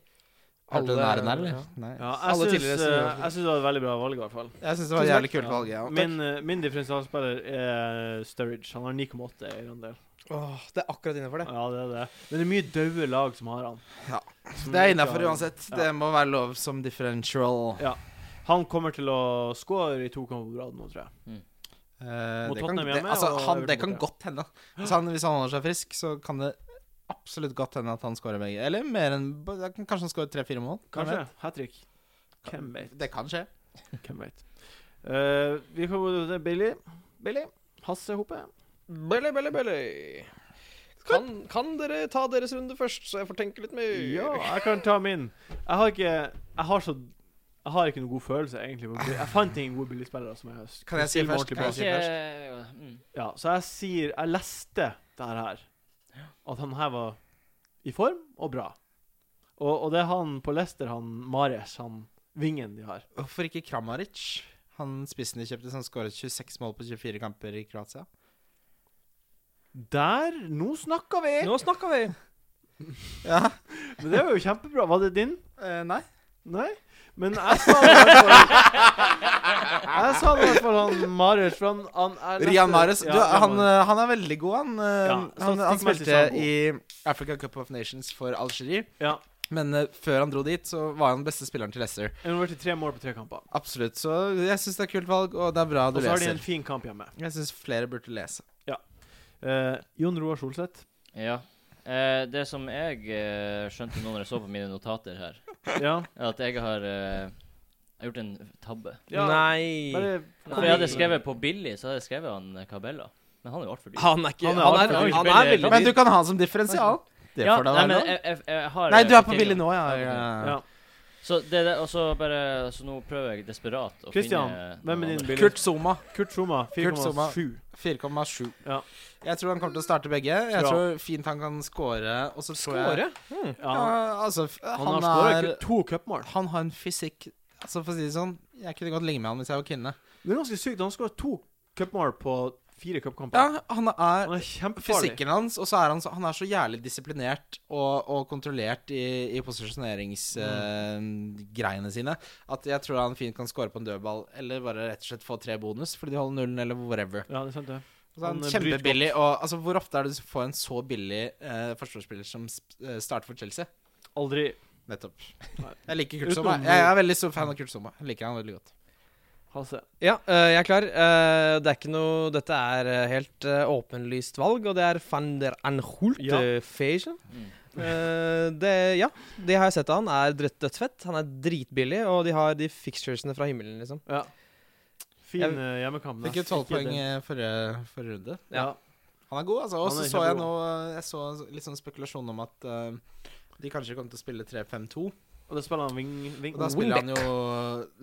Speaker 2: Hørte du den
Speaker 4: Alle-
Speaker 2: æren her, eller?
Speaker 4: ja.
Speaker 2: Nei.
Speaker 1: Ja,
Speaker 4: Alle
Speaker 1: jeg
Speaker 4: tidligere
Speaker 1: syns
Speaker 4: seniorer.
Speaker 1: eh, jeg syns det var et veldig bra valg, i hvert fall.
Speaker 2: Jeg syns det var et jævlig kult valg. Ja.
Speaker 1: Min, eh, min differensialspiller er Sturridge. Han har 9,8 i eierandel.
Speaker 4: *laughs* Åh, det er akkurat innafor det.
Speaker 1: Ja, det er det. Men det er mye døde lag som har han.
Speaker 2: Ja.
Speaker 1: Som
Speaker 2: Det er
Speaker 1: ikke
Speaker 2: innafor
Speaker 1: har-
Speaker 2: uansett.
Speaker 1: Ja.
Speaker 2: Det må være lov som differential.
Speaker 1: Han kommer til å score i to kamper på rad nå, tror jeg.
Speaker 2: Eh,
Speaker 1: Mot
Speaker 2: det kan,
Speaker 1: Tottenham
Speaker 2: det,
Speaker 1: hjemme,
Speaker 2: altså,
Speaker 1: og
Speaker 2: han,
Speaker 1: Everton
Speaker 2: det kan
Speaker 1: borte.
Speaker 2: godt hende. Hvis han, hvis han holder seg frisk, så kan det absolutt godt hende at han skårer begge. Eller mer enn det kan- Kanskje han skårer tre-fire mål. Hvem
Speaker 1: Kanskje.
Speaker 2: vet?
Speaker 1: Hat trick. Hvem vet?
Speaker 2: Det kan skje.
Speaker 1: Hvem vet. Eh, vi kan gå til Billy. Billy. Hasse Hoppe.
Speaker 4: Belly, belly, belly. Kan, kan dere ta deres runde først, så jeg får tenke litt mer?
Speaker 1: Ja, jeg kan ta min. Jeg har ikke Jeg har så Jeg har ikke noen god følelse, egentlig. på Billy. Jeg fant ingen gode Billy-spillere som jeg
Speaker 2: Kan jeg si
Speaker 1: stiller meg
Speaker 2: først?
Speaker 1: ordentlig
Speaker 2: Kan jeg
Speaker 1: bak.
Speaker 2: si først?
Speaker 3: Ikke- mm.
Speaker 1: Ja, så jeg sier Jeg leste det her her. At han her var i form og bra. Og, og det er han på Lester, han Mares, han vingen de har.
Speaker 2: Hvorfor ikke Kramaric? Han spissen de kjøpte, som skåret 26 mål på 24 kamper i Kroatia.
Speaker 1: Der! Nå snakker vi!
Speaker 4: Nå snakker vi!
Speaker 2: Ja.
Speaker 1: Men det var jo kjempebra. Var det din?
Speaker 2: Eh, nei.
Speaker 1: Nei, men jeg sa det i hvert fall
Speaker 2: *laughs*
Speaker 1: Jeg sa det i hvert fall han Marius for han, han er
Speaker 2: Rian Mares.
Speaker 1: neste-
Speaker 2: du,
Speaker 1: Rian
Speaker 2: han,
Speaker 1: Mahrez.
Speaker 2: eh, han er veldig god, han. eh,
Speaker 1: Ja,
Speaker 2: han, han
Speaker 1: statistikkmessig
Speaker 2: spilte
Speaker 1: så er han
Speaker 2: i Africa Cup of Nations for Algerie.
Speaker 1: Ja.
Speaker 2: Men eh, før han dro dit, så var han beste spilleren til Leicester.
Speaker 1: Involvert i tre mål på tre kamper.
Speaker 2: Absolutt. Så jeg syns det er kult valg, og det er bra
Speaker 1: Og
Speaker 2: du
Speaker 1: så har de en
Speaker 2: leser.
Speaker 1: fin kamp hjemme.
Speaker 2: Jeg syns flere burde lese.
Speaker 1: Eh, Jon Roar Solseth.
Speaker 3: Ja. Eh, det som jeg eh, skjønte nå når jeg så på mine notater her,
Speaker 1: Ja.
Speaker 3: er at jeg har eh, jeg har gjort en tabbe.
Speaker 1: Ja,
Speaker 4: Nei.
Speaker 1: Bare
Speaker 3: For jeg hadde skrevet på Billy, så hadde jeg skrevet han eh, Cabella. Men han er jo altfor dyr.
Speaker 4: Han er ikke
Speaker 1: Han er
Speaker 4: Han er,
Speaker 1: altfor
Speaker 4: han
Speaker 1: dyr.
Speaker 4: er, veldig
Speaker 2: Men du
Speaker 4: dyr.
Speaker 2: kan ha han som differensial. Det
Speaker 3: Ja,
Speaker 2: får da
Speaker 3: nei,
Speaker 2: være
Speaker 3: men
Speaker 2: lov.
Speaker 3: jeg, jeg, jeg har
Speaker 2: Nei,
Speaker 3: jeg
Speaker 2: du er
Speaker 3: fikk
Speaker 2: på
Speaker 3: til
Speaker 2: Billy
Speaker 3: noe.
Speaker 2: nå, ja.
Speaker 3: Ja,
Speaker 2: ja, ja.
Speaker 1: eh, ja.
Speaker 3: Så det, er det, og så bare Så nå prøver jeg desperat å
Speaker 1: Christian,
Speaker 3: finne
Speaker 1: hvem
Speaker 3: noen
Speaker 1: er din
Speaker 3: andre.
Speaker 1: billig?
Speaker 2: Kurt Zuma.
Speaker 1: Kurt Zuma,
Speaker 2: Kurt Zuma.
Speaker 1: 4,7.
Speaker 2: 4,7.
Speaker 1: Ja.
Speaker 2: Jeg tror han kommer til å starte begge. Jeg
Speaker 1: Tror
Speaker 2: tror fint han kan score. Og så tror jeg
Speaker 4: Skåre?
Speaker 1: Ja,
Speaker 3: Hm.
Speaker 2: Ja,
Speaker 1: han,
Speaker 2: altså, f-
Speaker 1: han,
Speaker 2: han,
Speaker 1: har
Speaker 2: er,
Speaker 1: skåret to cupmål.
Speaker 2: han har en fysikk Altså, for å si det sånn, jeg kunne godt ligge med han hvis jeg var kvinne.
Speaker 1: Det er ganske sykt. Han skåret to cupmål på Fire cupkamper.
Speaker 2: Ja, han er
Speaker 1: Han er kjempefarlig.
Speaker 2: fysikken hans, og så er han så, han er så jævlig disiplinert og, og kontrollert i, i posisjoneringsgreiene sine at jeg tror han fint kan score på en dødball eller bare rett og slett få tre bonus fordi de holder nullen, eller whatever.
Speaker 1: Ja, det er sant, det.
Speaker 2: Så han
Speaker 1: Han, eh,
Speaker 2: er
Speaker 1: bryter
Speaker 2: Kjempebillig. Og altså, hvor ofte er det du får en så billig eh, forsvarsspiller som sp- eh, starter for Chelsea?
Speaker 1: Aldri
Speaker 2: Nettopp.
Speaker 1: Nei.
Speaker 2: *laughs* Jeg liker Kurt
Speaker 1: Utenom
Speaker 2: Zuma. Jeg er veldig stor fan av Kurt Zuma. Jeg liker han veldig godt.
Speaker 1: Hasse.
Speaker 4: Ja, øh, jeg er klar. Øh, det er ikke noe Dette er øh, helt øh, åpenlyst valg, og det er van der Anholt
Speaker 1: Ja.
Speaker 4: ja. Feige.
Speaker 3: Mm.
Speaker 4: Eh, det, ja, det har jeg sett av han. Er drøtt dødsfett. Han er dritbillig, og de har de fixturesene fra himmelen, liksom.
Speaker 1: Ja. Fin
Speaker 4: Jeg-
Speaker 1: eh, hjemmekamp.
Speaker 2: Fikk jo
Speaker 1: Ikke
Speaker 2: tolv poeng
Speaker 1: den.
Speaker 2: eh, forrige, forrige runde.
Speaker 1: Ja.
Speaker 2: Han er god, altså. Og
Speaker 1: Han
Speaker 2: så
Speaker 1: er
Speaker 2: så jeg
Speaker 1: kjempegod.
Speaker 2: nå Jeg så litt sånn spekulasjon om at eh, de kanskje kommer til å spille 3-5-2.
Speaker 1: Og da spiller han wing... wing
Speaker 2: Og da spiller han jo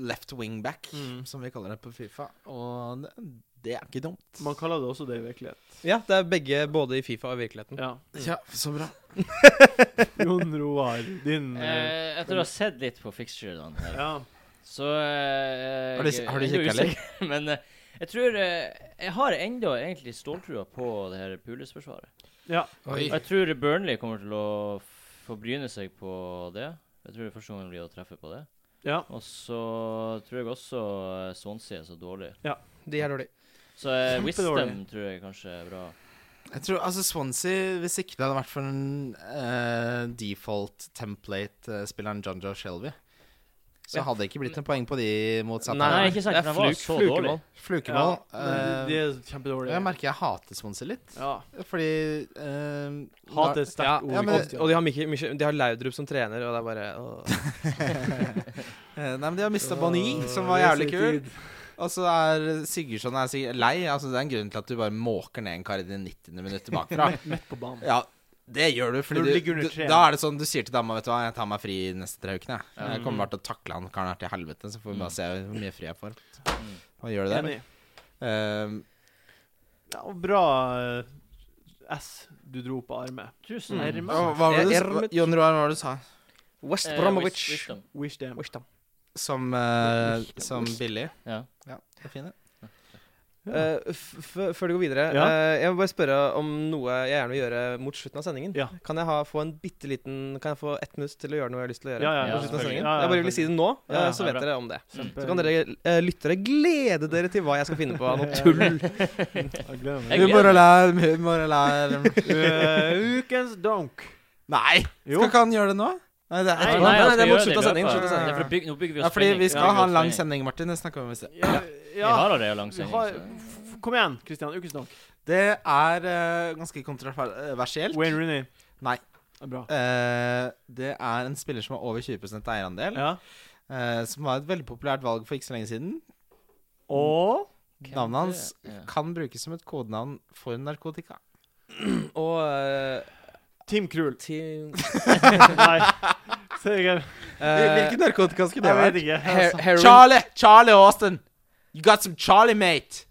Speaker 2: left wing back,
Speaker 1: Mm.
Speaker 2: som vi kaller det på Fifa. Og det, det er ikke dumt.
Speaker 1: Man kaller det også det i virkelighet.
Speaker 4: Ja, det er begge både i Fifa og i
Speaker 2: Mm.
Speaker 4: virkeligheten.
Speaker 1: Ja.
Speaker 2: Ja, så bra.
Speaker 1: Jon Roar, din eh,
Speaker 3: Eh, etter å ha sett litt på fixturene her,
Speaker 1: Ja.
Speaker 3: så eh,
Speaker 2: Har du-
Speaker 3: jeg-
Speaker 2: har du
Speaker 3: jeg er
Speaker 2: kikket,
Speaker 3: usikker, *laughs* Men eh, jeg tror eh, Jeg har ennå egentlig ståltrua på det her Pulis-forsvaret.
Speaker 1: ja.
Speaker 2: Oi.
Speaker 3: Og Jeg tror Burnley kommer til å f- få bryne seg på det. Jeg tror det er første gangen blir å treffe på det.
Speaker 1: Ja.
Speaker 3: Og så tror jeg også eh, Swansea er så dårlig.
Speaker 4: De er dårlige.
Speaker 3: Så eh, Wisdom
Speaker 1: Kjempedårlig.
Speaker 3: tror jeg kanskje er bra.
Speaker 2: Jeg tror, altså Swansea, hvis ikke det hadde vært for den eh, default template-spilleren John Joe Shelby, så
Speaker 4: Ja.
Speaker 2: hadde det ikke blitt noen poeng på de mot
Speaker 3: Nei,
Speaker 2: Zappa.
Speaker 3: ikke sant,
Speaker 4: det er
Speaker 3: for han var
Speaker 4: fluk-
Speaker 3: så dårlig.
Speaker 4: flukemål.
Speaker 2: Flukeball. eh,
Speaker 1: Ja, men de- de er kjempedårlige.
Speaker 2: jeg merker jeg hater Swansea litt,
Speaker 1: ja.
Speaker 2: fordi eh,
Speaker 1: Hat er et
Speaker 4: Ja,
Speaker 1: sterkt ord.
Speaker 2: ja, men-
Speaker 4: Og, og de har, Mikkel, Mikkel, de har Laudrup som trener, og det er bare åh.
Speaker 2: Eh, Nei, men de har mista Bonny, som var jævlig kul. Og så er Sigurdsson er sikkert lei. Altså, det er en grunn til at du bare måker ned en kar i det 90. minuttet bakfra.
Speaker 1: Midt på banen.
Speaker 2: Ja, det gjør du,
Speaker 1: Når
Speaker 2: fordi
Speaker 1: du
Speaker 2: du,
Speaker 1: ligger under
Speaker 2: du,
Speaker 1: tre.
Speaker 2: da er det sånn Du sier til dama vet du hva, jeg tar meg fri de neste tre ukene. Jeg, jeg
Speaker 1: Mm.
Speaker 2: kommer bare til å takle han karen her til helvete, så får vi bare se hvor mye fri jeg får.
Speaker 3: Mm.
Speaker 2: Han gjør det der.
Speaker 1: *laughs* Enig.
Speaker 2: Ehm,
Speaker 1: Ja, og bra eh, S du dro på armet.
Speaker 3: Tusen Ah,
Speaker 1: Mm.
Speaker 3: hermer.
Speaker 2: og hva var det du
Speaker 4: Jeg
Speaker 2: sa?
Speaker 4: ermet-
Speaker 2: Jon Roar, hva var det du sa?
Speaker 4: West
Speaker 3: Eh,
Speaker 4: Bromovich.
Speaker 3: Wis- Wisdom.
Speaker 1: Wish them.
Speaker 4: West Ham.
Speaker 2: Som, eh, som billig?
Speaker 3: *laughs* Ja.
Speaker 2: Ja, det er fint, det.
Speaker 4: Eh, f f før du går videre,
Speaker 1: Ja.
Speaker 4: eh, jeg må bare spørre om noe jeg gjerne vil gjøre mot slutten av sendingen.
Speaker 1: Ja.
Speaker 4: Kan jeg ha, få en bitte liten Kan jeg få ett minutt til å gjøre noe jeg har lyst til å gjøre?
Speaker 1: Ja, ja,
Speaker 3: Ja,
Speaker 4: På slutten
Speaker 3: selvfølgelig.
Speaker 4: av sendingen?
Speaker 1: Ja, ja,
Speaker 4: jeg bare vil si det nå, eh,
Speaker 1: Ja, ja,
Speaker 4: så
Speaker 1: ja,
Speaker 4: vet
Speaker 1: bra.
Speaker 4: dere om det.
Speaker 3: Kjempe-
Speaker 4: Så kan dere eh, lyttere glede dere til hva jeg skal finne på av
Speaker 3: *laughs*
Speaker 4: noe tull.
Speaker 1: Jeg gleder meg.
Speaker 3: Jeg gleder
Speaker 2: Humor og larm, humor og larm.
Speaker 1: *laughs* Eh, ukens donk.
Speaker 2: Nei!
Speaker 1: Jo.
Speaker 2: Skal ikke han gjøre det nå? Nei, det
Speaker 3: Nei, nei,
Speaker 2: er
Speaker 3: altså,
Speaker 4: nei,
Speaker 3: han
Speaker 4: det er
Speaker 3: skal
Speaker 4: mot
Speaker 3: gjøre i
Speaker 4: slutt av
Speaker 3: løpet.
Speaker 4: sendingen, slutt av
Speaker 3: Ja,
Speaker 2: sendingen.
Speaker 3: for bygger, nå bygger vi
Speaker 2: ja,
Speaker 3: oss
Speaker 2: fordi vi
Speaker 3: spenning.
Speaker 2: skal
Speaker 3: Ja,
Speaker 2: ha en
Speaker 3: vi
Speaker 2: lang
Speaker 3: spenning.
Speaker 2: sending, Martin. Det snakker vi om i sted.
Speaker 1: Ja,
Speaker 3: Vi
Speaker 1: ja.
Speaker 3: har allerede lang
Speaker 1: Vi
Speaker 3: sending.
Speaker 1: har,
Speaker 3: så-
Speaker 1: f- kom igjen, Kristian. Ukens donk.
Speaker 2: Det er eh, ganske kontroversielt.
Speaker 1: Wayne Rooney.
Speaker 2: Nei.
Speaker 1: Det er Bra.
Speaker 2: Eh, det er en spiller som har over 20 eierandel.
Speaker 1: Ja.
Speaker 2: eh, som var et veldig populært valg for ikke så lenge siden.
Speaker 1: Og
Speaker 3: Hvem
Speaker 2: Navnet hans
Speaker 3: det er? Ja.
Speaker 2: kan brukes som et kodenavn for narkotika.
Speaker 4: Og eh,
Speaker 1: Tim Krul.
Speaker 4: til
Speaker 1: Nei. Se, jeg,
Speaker 4: eh,
Speaker 2: narkotika skulle
Speaker 1: jeg vet ikke.
Speaker 4: her- heroin.
Speaker 2: Charlie! Charlie Austin! You got some Charlie, mate!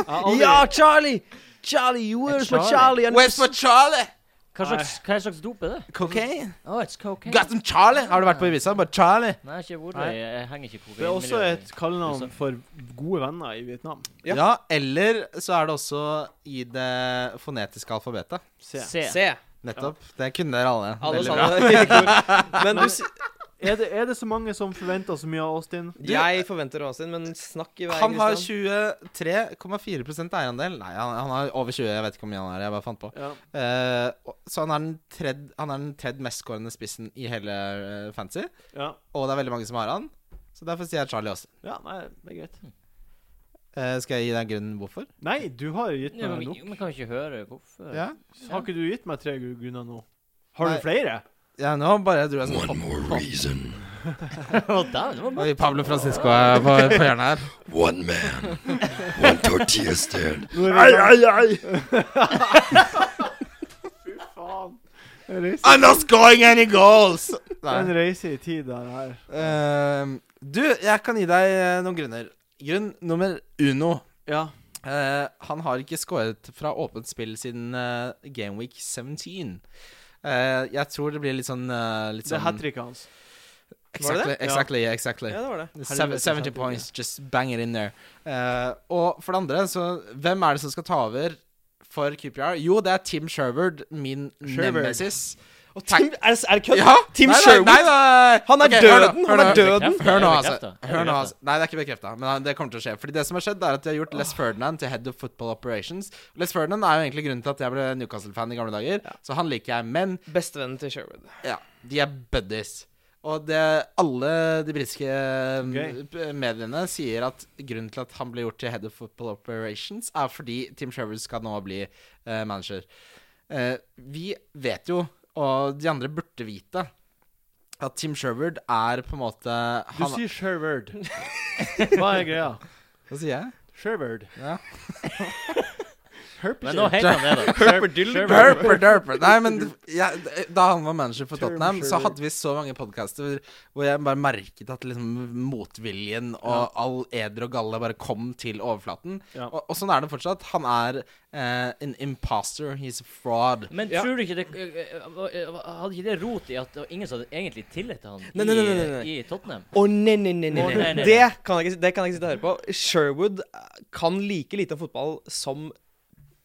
Speaker 1: Jeg har aldri-
Speaker 4: Ja, Charlie! Charlie, you were for Charlie.
Speaker 3: Charlie.
Speaker 4: and-
Speaker 2: Where's for Charlie?
Speaker 3: Hva slags, hva slags dop er det?
Speaker 2: Cocaine?
Speaker 3: Oh, it's cocaine.
Speaker 2: You got some Charlie? Har du vært på Ibiza? Bare Charlie.
Speaker 3: Nei, ikke hvor
Speaker 1: Nei.
Speaker 3: jeg, jeg henger ikke i kokain.
Speaker 1: Det er også
Speaker 3: miljøet.
Speaker 1: et kallenavn for gode venner i Vietnam.
Speaker 4: Ja.
Speaker 2: Ja. eller så er det også i det fonetiske alfabetet.
Speaker 1: Se.
Speaker 3: Se.
Speaker 4: Se.
Speaker 2: Nettopp. Det kunne dere alle.
Speaker 4: Alle
Speaker 2: Veldig bra.
Speaker 4: sammen. Men du, s-
Speaker 1: Er det, er det så mange som forventer så mye av Austin?
Speaker 4: jeg forventer Åsin, men snakk i vei.
Speaker 2: Han har
Speaker 4: Christian.
Speaker 2: 23,4 eierandel. Nei, han, han har over 20. Jeg vet ikke hvor mye han er. Jeg bare fant på.
Speaker 1: Ja.
Speaker 2: Eh, og- så han er den tredje, han er den tredje mest skårende spissen i hele eh, fantasy.
Speaker 1: Ja,
Speaker 2: Og det er veldig mange som har han. Så derfor sier jeg Charlie Austin.
Speaker 1: ja nei, det er greit.
Speaker 2: Eh, skal jeg gi deg grunnen hvorfor?
Speaker 1: Nei, du har jo gitt
Speaker 3: Ja,
Speaker 1: meg
Speaker 3: men,
Speaker 1: nok.
Speaker 3: men kan ikke høre hvorfor.
Speaker 2: Ja.
Speaker 1: Har ikke du gitt meg tre gru- grunner nå? Har
Speaker 2: Nei.
Speaker 1: du flere?
Speaker 2: ja nå bare dro jeg sånn hopp.
Speaker 5: More reason.
Speaker 3: Å, dæven, det var bra.
Speaker 2: Oi, Pablo Francisco er på, på hjørnet her.
Speaker 5: One man, one tortilla stand.
Speaker 1: Nå er vi i gang. Fy faen. En reise,
Speaker 2: I'm not scoring any goals!
Speaker 1: en reise i tid der her.
Speaker 2: Eh, du, jeg kan gi deg eh, noen grunner. Grunn nummer uno.
Speaker 1: Ja.
Speaker 2: Eh, han har ikke skåret fra åpent spill siden eh, Game Week 17. Eh, jeg tror det blir litt sånn eh, litt
Speaker 1: Det er altså.
Speaker 2: sånn,
Speaker 1: hat tricket hans.
Speaker 4: Var det
Speaker 2: Exactly, exactly, exactly.
Speaker 4: Ja, det var det.
Speaker 2: Seven- 70 points, just bang it in there. Eh, og for det andre, så hvem er det som skal ta over for QPR? Jo, det er Tim Sherwood, min
Speaker 4: Sherwood.
Speaker 2: nemesis. Og
Speaker 4: Tim, er, det- er det kødd?
Speaker 2: Ja!
Speaker 4: Tim
Speaker 2: Nei, nei,
Speaker 4: Sherwood?
Speaker 2: nei, nei, nei.
Speaker 4: Han er
Speaker 2: Ok, hør nå,
Speaker 4: døden,
Speaker 2: hør
Speaker 4: han er
Speaker 2: nå.
Speaker 4: død. Døden?
Speaker 3: Bekreftet, er
Speaker 2: Hør nå,
Speaker 3: det
Speaker 2: altså.
Speaker 3: bekreftet? Er det
Speaker 2: Hør nå,
Speaker 3: bekreftet?
Speaker 2: altså. Nei, det er ikke bekrefta, men det kommer til å skje. Fordi det som har skjedd, er at de har gjort Les Ferdinand til head of football operations. Les Ferdinand er jo egentlig grunnen til at jeg ble Newcastle-fan i gamle dager, så han liker jeg. Men
Speaker 4: Bestevennen til Sherwood.
Speaker 2: ja, de er buddies. Og det, alle de britiske
Speaker 1: Gøy.
Speaker 2: eh, mediene sier at grunnen til at han ble gjort til head of football operations, er fordi Tim Sherwood skal nå bli eh, manager. Eh, vi vet jo, og de andre burde vite, at Tim Sherwood er på en måte
Speaker 1: Du
Speaker 2: han,
Speaker 1: sier
Speaker 2: *laughs*
Speaker 1: Sherward. Hva er greia?
Speaker 2: Hva sier jeg?
Speaker 1: Sherward.
Speaker 2: Ja.
Speaker 1: *laughs* Herp
Speaker 3: Men nå heter han det, da.
Speaker 1: Sherward.
Speaker 2: Derper, derper. Nei, men ja, da han var manager for
Speaker 1: Sherwood,
Speaker 2: Tottenham, så
Speaker 1: Sherwood.
Speaker 2: hadde vi så mange podcaster hvor jeg bare merket at liksom motviljen og all eder og galle bare kom til overflaten.
Speaker 1: Ja.
Speaker 2: Og, og sånn er det fortsatt. Han er eh, en imposter. He's a fraud.
Speaker 3: Men
Speaker 4: Ja.
Speaker 3: tror du ikke det eh, Hadde ikke det rot i at det var ingen som hadde egentlig tillit til han
Speaker 4: Nei, nei,
Speaker 3: i-
Speaker 4: nei, nei, nei.
Speaker 3: i Tottenham?
Speaker 4: Å, nei, nei, nei, nei,
Speaker 3: Å, nei, nei.
Speaker 4: Det kan jeg ikke, det kan jeg ikke sitte og høre på. Sherwood eh, kan like lite om fotball som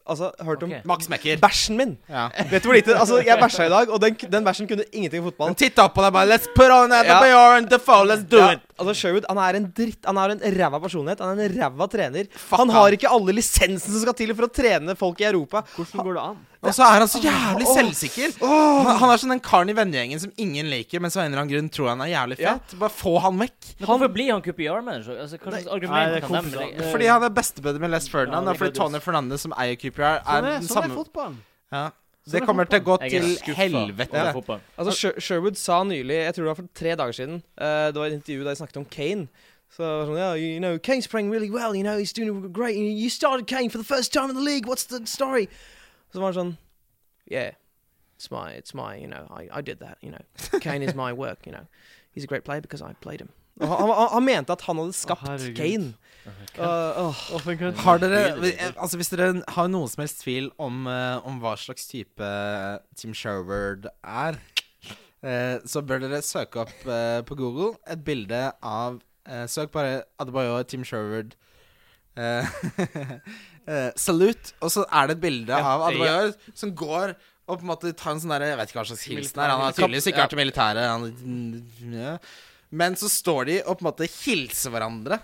Speaker 4: Altså, hørt om
Speaker 3: Ok.
Speaker 2: Max Mekker.
Speaker 4: bæsjen min.
Speaker 2: Ja.
Speaker 4: Vet du hvor lite Altså, jeg bæsja i dag, og den, den bæsjen kunne ingenting om
Speaker 3: *laughs*
Speaker 4: fotball.
Speaker 2: Han titta opp på deg bare Let's put on that
Speaker 4: Ja.
Speaker 2: Bayor and Defoe, let's do
Speaker 4: Ja,
Speaker 2: it!
Speaker 4: altså Sherwood han er en dritt Han er en ræva personlighet. Han er en ræva trener. han
Speaker 2: han.
Speaker 4: har ikke alle lisensen som skal til for å trene folk i Europa.
Speaker 1: Hvordan går det an?
Speaker 2: Og så er han så jævlig
Speaker 4: Åh.
Speaker 2: selvsikker. Han, han er sånn den karen i vennegjengen som ingen liker, men som av en eller annen grun tror han er jævlig
Speaker 4: Ja.
Speaker 2: fett. Bare få han vekk.
Speaker 3: Men hvorfor blir han QPR-manager? Altså, hva slags
Speaker 1: Nei, det
Speaker 3: argument
Speaker 1: er
Speaker 3: kan de
Speaker 1: kompiser.
Speaker 3: legge?
Speaker 1: Det-
Speaker 2: Fordi han er bestebuddy med Les Ferdinand,
Speaker 1: Ja,
Speaker 2: og fordi
Speaker 1: det er
Speaker 2: Tony Fernandez, som eier QPR, er
Speaker 1: Sånn er, sånn
Speaker 2: den
Speaker 1: er
Speaker 2: samme
Speaker 1: fotballen.
Speaker 2: ja.
Speaker 1: Sånn
Speaker 2: Det
Speaker 1: er
Speaker 2: kommer til å gå
Speaker 3: Jeg er
Speaker 2: til
Speaker 3: skuffa
Speaker 2: helvete.
Speaker 3: over fotball.
Speaker 4: Altså Sher- Sherwood sa nylig, jeg tror det var for tre dager siden eh, Det var et intervju der de snakket om Kane. Så det var sånn, yeah, you know, Kane's playing really well, you know, he's doing great. You you started Kane for the first time in the league, what's the story? Så var han sånn Yeah, it's my, it's my, you know, I, I did that, you know. Kane is my work, you know. He's a great player because I played him. Og Han, han, han mente at han hadde skapt
Speaker 1: herregud.
Speaker 4: Kane. Uh, åh.
Speaker 1: Å, for en kødd.
Speaker 2: Har dere,
Speaker 1: eh,
Speaker 2: altså Hvis dere har noen som helst tvil om, eh, om hva slags type eh, Tim Sherwood er, eh, så bør dere søke opp eh, på Google et bilde av eh, Søk bare Adebayo Tim Sherwood eh, *laughs* eh, Salute. Og så er det et bilde av Adebayo som går og på en måte tar en sånn der Jeg vet ikke hva slags hilsen er. Han har tydeligvis ikke vært i militæret. Han, ja. Men så står de og på en måte hilser hverandre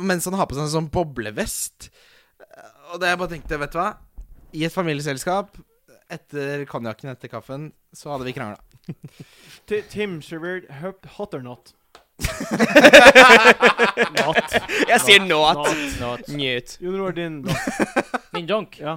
Speaker 2: mens han har på seg en sånn boblevest. Og det jeg bare tenkte, vet du hva? I et familieselskap, etter konjakken etter kaffen, så hadde vi krangla.
Speaker 1: Ti- Tim Sherward, hot- hot or
Speaker 2: *laughs*
Speaker 1: not?
Speaker 4: Jeg sier not.
Speaker 3: Not.
Speaker 4: Njut.
Speaker 1: Jon Roar, din da.
Speaker 3: Min donk,
Speaker 1: Ja,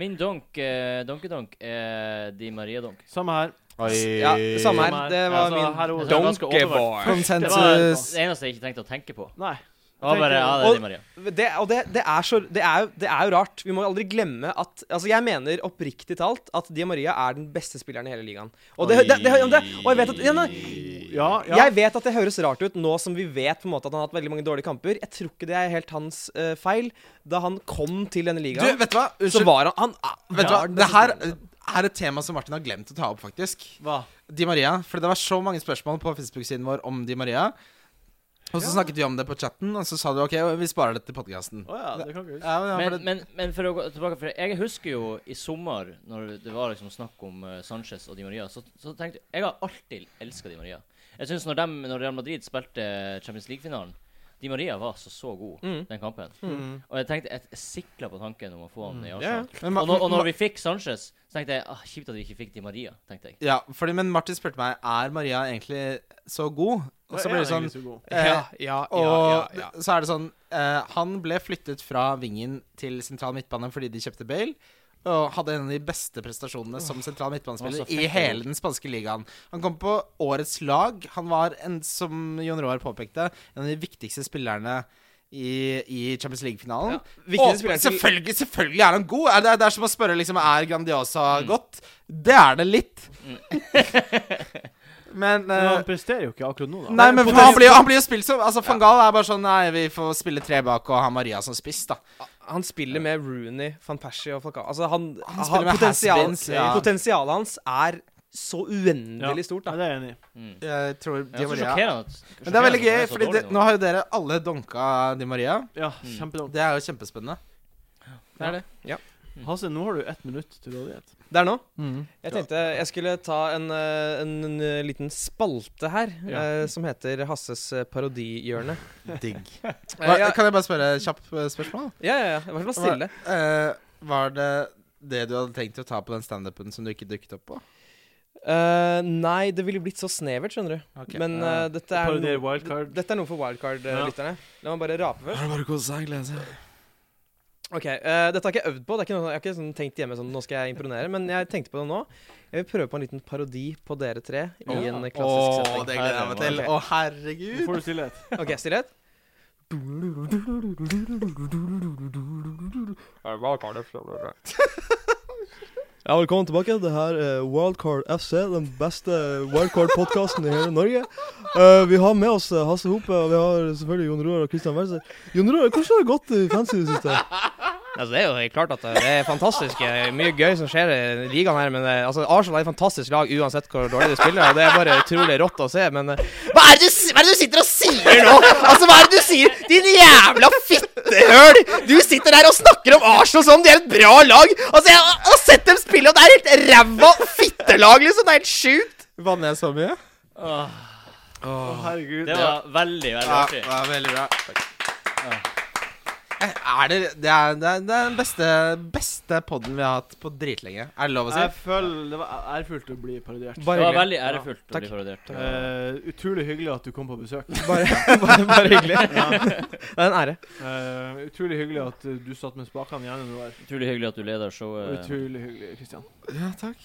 Speaker 3: min donk, eh, donkedonk, er Di Maria-donk.
Speaker 1: samme her.
Speaker 4: Ja, samme her. Det var
Speaker 1: Altså,
Speaker 4: min
Speaker 1: her er ordet.
Speaker 4: donkeybar.
Speaker 2: Konsensus.
Speaker 3: Det eneste jeg ikke tenkte å tenke på.
Speaker 1: Nei.
Speaker 3: Det var bare, ja, det er Di Maria.
Speaker 4: Det, og det, det, er så, det, er, jo- det er jo rart. Vi må aldri glemme at Altså, jeg mener oppriktig talt at Di Maria er den beste spilleren i hele ligaen. Og, det, det, det, og, det, og jeg vet at ja, nei,
Speaker 1: Ja, ja.
Speaker 4: Jeg vet at det høres rart ut nå som vi vet på en måte at han har hatt veldig mange dårlige kamper. Jeg tror ikke det er helt hans eh, feil. Da han kom til denne
Speaker 2: Du,
Speaker 4: ligaen,
Speaker 2: vet du hva?
Speaker 4: så
Speaker 2: Unnskyld.
Speaker 4: var han, han
Speaker 2: Vet du hva? Det her er et tema som Martin har glemt å ta opp, faktisk.
Speaker 1: Hva?
Speaker 2: Di Maria. For det var så mange spørsmål på Facebook-siden vår om Di Maria. Og så snakket vi om det på chatten, og så sa du OK, vi sparer det til podkasten.
Speaker 1: Å ja, det kan ikke huske.
Speaker 2: Ja, men, ja,
Speaker 3: Men,
Speaker 2: for det-
Speaker 3: men, men for å gå tilbake For jeg husker jo i sommer, når det var liksom snakk om eh, Sanchez og Di Maria, så, så tenkte jeg Jeg har alltid elska Di Maria. Jeg synes når, dem, når Real Madrid spilte Champions League-finalen Di Maria var så så god
Speaker 2: Mm.
Speaker 3: den kampen. Og jeg tenkte Jeg sikla på tanken om å få
Speaker 2: Mm.
Speaker 3: han i Arsenal.
Speaker 2: Men Ma-
Speaker 3: og, når, og
Speaker 2: Ma-
Speaker 3: når vi fikk Sanchez, så tenkte jeg ah, kjipt at vi ikke fikk Di Maria. tenkte jeg
Speaker 2: ja, fordi, men Martin spurte meg Er Maria egentlig så god. Og så
Speaker 1: Da er
Speaker 2: ble
Speaker 1: han
Speaker 2: det sånn
Speaker 1: egentlig så god.
Speaker 2: eh,
Speaker 4: ja,
Speaker 2: Og så er det sånn eh, Han ble flyttet fra vingen til sentral midtbane fordi de kjøpte Bale. Og hadde en av de beste prestasjonene som sentral
Speaker 3: Det var
Speaker 2: midtbanespiller
Speaker 3: så fett,
Speaker 2: i hele den spanske ligaen. Han kom på årets lag. Han var, en, som Jon Roar påpekte, en av de viktigste spillerne i, i Champions League-finalen.
Speaker 4: viktigste
Speaker 2: Og
Speaker 4: spiller til-
Speaker 2: selvfølgelig, selvfølgelig er han god! Er det, det er som å spørre liksom, er Grandiosa godt. Det er det litt. *laughs* Men
Speaker 1: Men
Speaker 2: eh,
Speaker 1: han presterer jo ikke akkurat nå, da.
Speaker 2: Nei, men
Speaker 4: Potensielt-
Speaker 2: han blir, jo- han blir jo spilt som Altså, Van Gaal er bare sånn Nei, vi får spille tre bak og ha Maria som spiss, da.
Speaker 4: Han spiller med Rooney, Van Persie og Falcao. Altså, han,
Speaker 2: spiller med
Speaker 4: potensial-
Speaker 2: has-beens, ja.
Speaker 4: Potensialet hans er så uendelig stort,
Speaker 1: Ja,
Speaker 4: da.
Speaker 1: det er jeg enig i.
Speaker 3: Mm.
Speaker 2: Jeg tror
Speaker 3: Men det
Speaker 2: Di
Speaker 3: er så
Speaker 2: Maria
Speaker 3: sjokkerende at
Speaker 2: Men det er veldig gøy,
Speaker 3: sjokkerende at
Speaker 2: for
Speaker 3: den er så dårlig
Speaker 2: nå har jo dere alle donka Di Maria.
Speaker 1: Ja,
Speaker 3: Mm.
Speaker 1: kjempedumt.
Speaker 2: Det er jo kjempespennende.
Speaker 4: Det er det. Ja.
Speaker 1: Hasse, nå har du ett minutt til rådighet.
Speaker 4: Det er nå.
Speaker 2: Mm.
Speaker 4: Jeg tenkte jeg skulle ta en, eh, en, en liten spalte her,
Speaker 1: Ja.
Speaker 4: eh, som heter Hasses eh, parodihjørne.
Speaker 2: *laughs* Digg.
Speaker 4: Eh,
Speaker 2: Hva,
Speaker 4: ja,
Speaker 2: kan jeg bare spørre et kjapt eh, spørsmål?
Speaker 4: ja, ja, ja. I hvert fall stille.
Speaker 2: Eh, var det det du hadde tenkt å ta på den standupen som du ikke dukket opp på?
Speaker 4: Eh, nei, det ville blitt så snevert, skjønner du.
Speaker 2: Ok.
Speaker 4: Men eh, dette, er
Speaker 1: Parodier
Speaker 4: noe,
Speaker 1: wildcard.
Speaker 4: dette er noe for wildcard-lytterne. La meg bare rape først.
Speaker 2: det bare å kose seg og glede seg?
Speaker 4: Ok, eh, Dette har jeg ikke øvd på. Det er ikke noe, jeg har ikke sånn tenkt hjemme sånn, nå skal jeg imponere, men jeg tenkte på det nå. Jeg vil prøve på en liten parodi på dere tre
Speaker 1: Ja.
Speaker 4: i en klassisk
Speaker 2: Å,
Speaker 4: setting.
Speaker 2: det gleder jeg meg til. Å,
Speaker 1: Nå
Speaker 2: herregud.
Speaker 1: får du stillhet.
Speaker 4: Ok, stillhet. *laughs* Ja, velkommen tilbake. Det her er Wildcard FC, den beste wildcard-podkasten i hele Norge. Eh, vi har med oss eh, Hasse Hope, og vi har selvfølgelig Jon Roar og Christian Welser. Jon Roar, hvordan har det gått i fancy i det siste? Altså, det er jo klart at det er fantastisk. Mye gøy som skjer i ligaen her. Men altså, Arsenal er et fantastisk lag uansett hvor dårlig de spiller. Og det er bare utrolig rått å se. Men eh,
Speaker 2: Hva er, det du, si- hva er det du sitter og sier nå?! Altså, Hva er det du sier?! Din jævla fittehøl! Du sitter der og snakker om Arsenal som om de er et bra lag! Altså, Jeg har- har sett dem spille, og det er helt ræva fittelag, liksom! Det er helt sjukt! Vanner jeg så mye?
Speaker 3: Åh,
Speaker 1: Å, herregud.
Speaker 3: Ah, Det var veldig, veldig
Speaker 2: Ja,
Speaker 3: artig.
Speaker 2: ja, veldig bra. Eh, Er det, det, er, det, er, det er den beste, beste podden vi har hatt på dritlenge. Er det lov å si?
Speaker 1: Jeg føler det var ærefullt å bli parodiert.
Speaker 3: Det
Speaker 4: bare
Speaker 3: var
Speaker 4: hyggelig.
Speaker 3: veldig ærefullt å
Speaker 4: Takk.
Speaker 3: bli parodiert.
Speaker 1: Eh, utrolig hyggelig at du kom på besøk.
Speaker 4: Bare, bare, bare hyggelig. Det er en ære.
Speaker 1: Eh, utrolig hyggelig at eh, du satt med spakene igjen når du var her.
Speaker 3: Utrolig hyggelig at du leder
Speaker 1: Og
Speaker 3: showet.
Speaker 1: Utrolig hyggelig, Kristian.
Speaker 2: Ja, takk.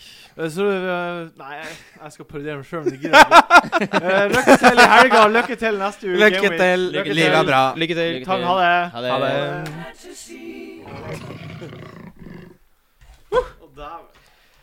Speaker 1: så eh, Nei, jeg, jeg skal parodiere meg sjøl, men det gidder jeg
Speaker 2: *laughs*
Speaker 1: ikke. Eh, lykke til i helga, og lykke til neste uke.
Speaker 2: Lykke
Speaker 1: Gaming.
Speaker 2: til.
Speaker 3: Lykke til.
Speaker 2: Livet er bra.
Speaker 4: Lykke til.
Speaker 3: Lykke
Speaker 1: Takk,
Speaker 3: til.
Speaker 1: ha det.
Speaker 3: Ha det.
Speaker 1: Å, dæven.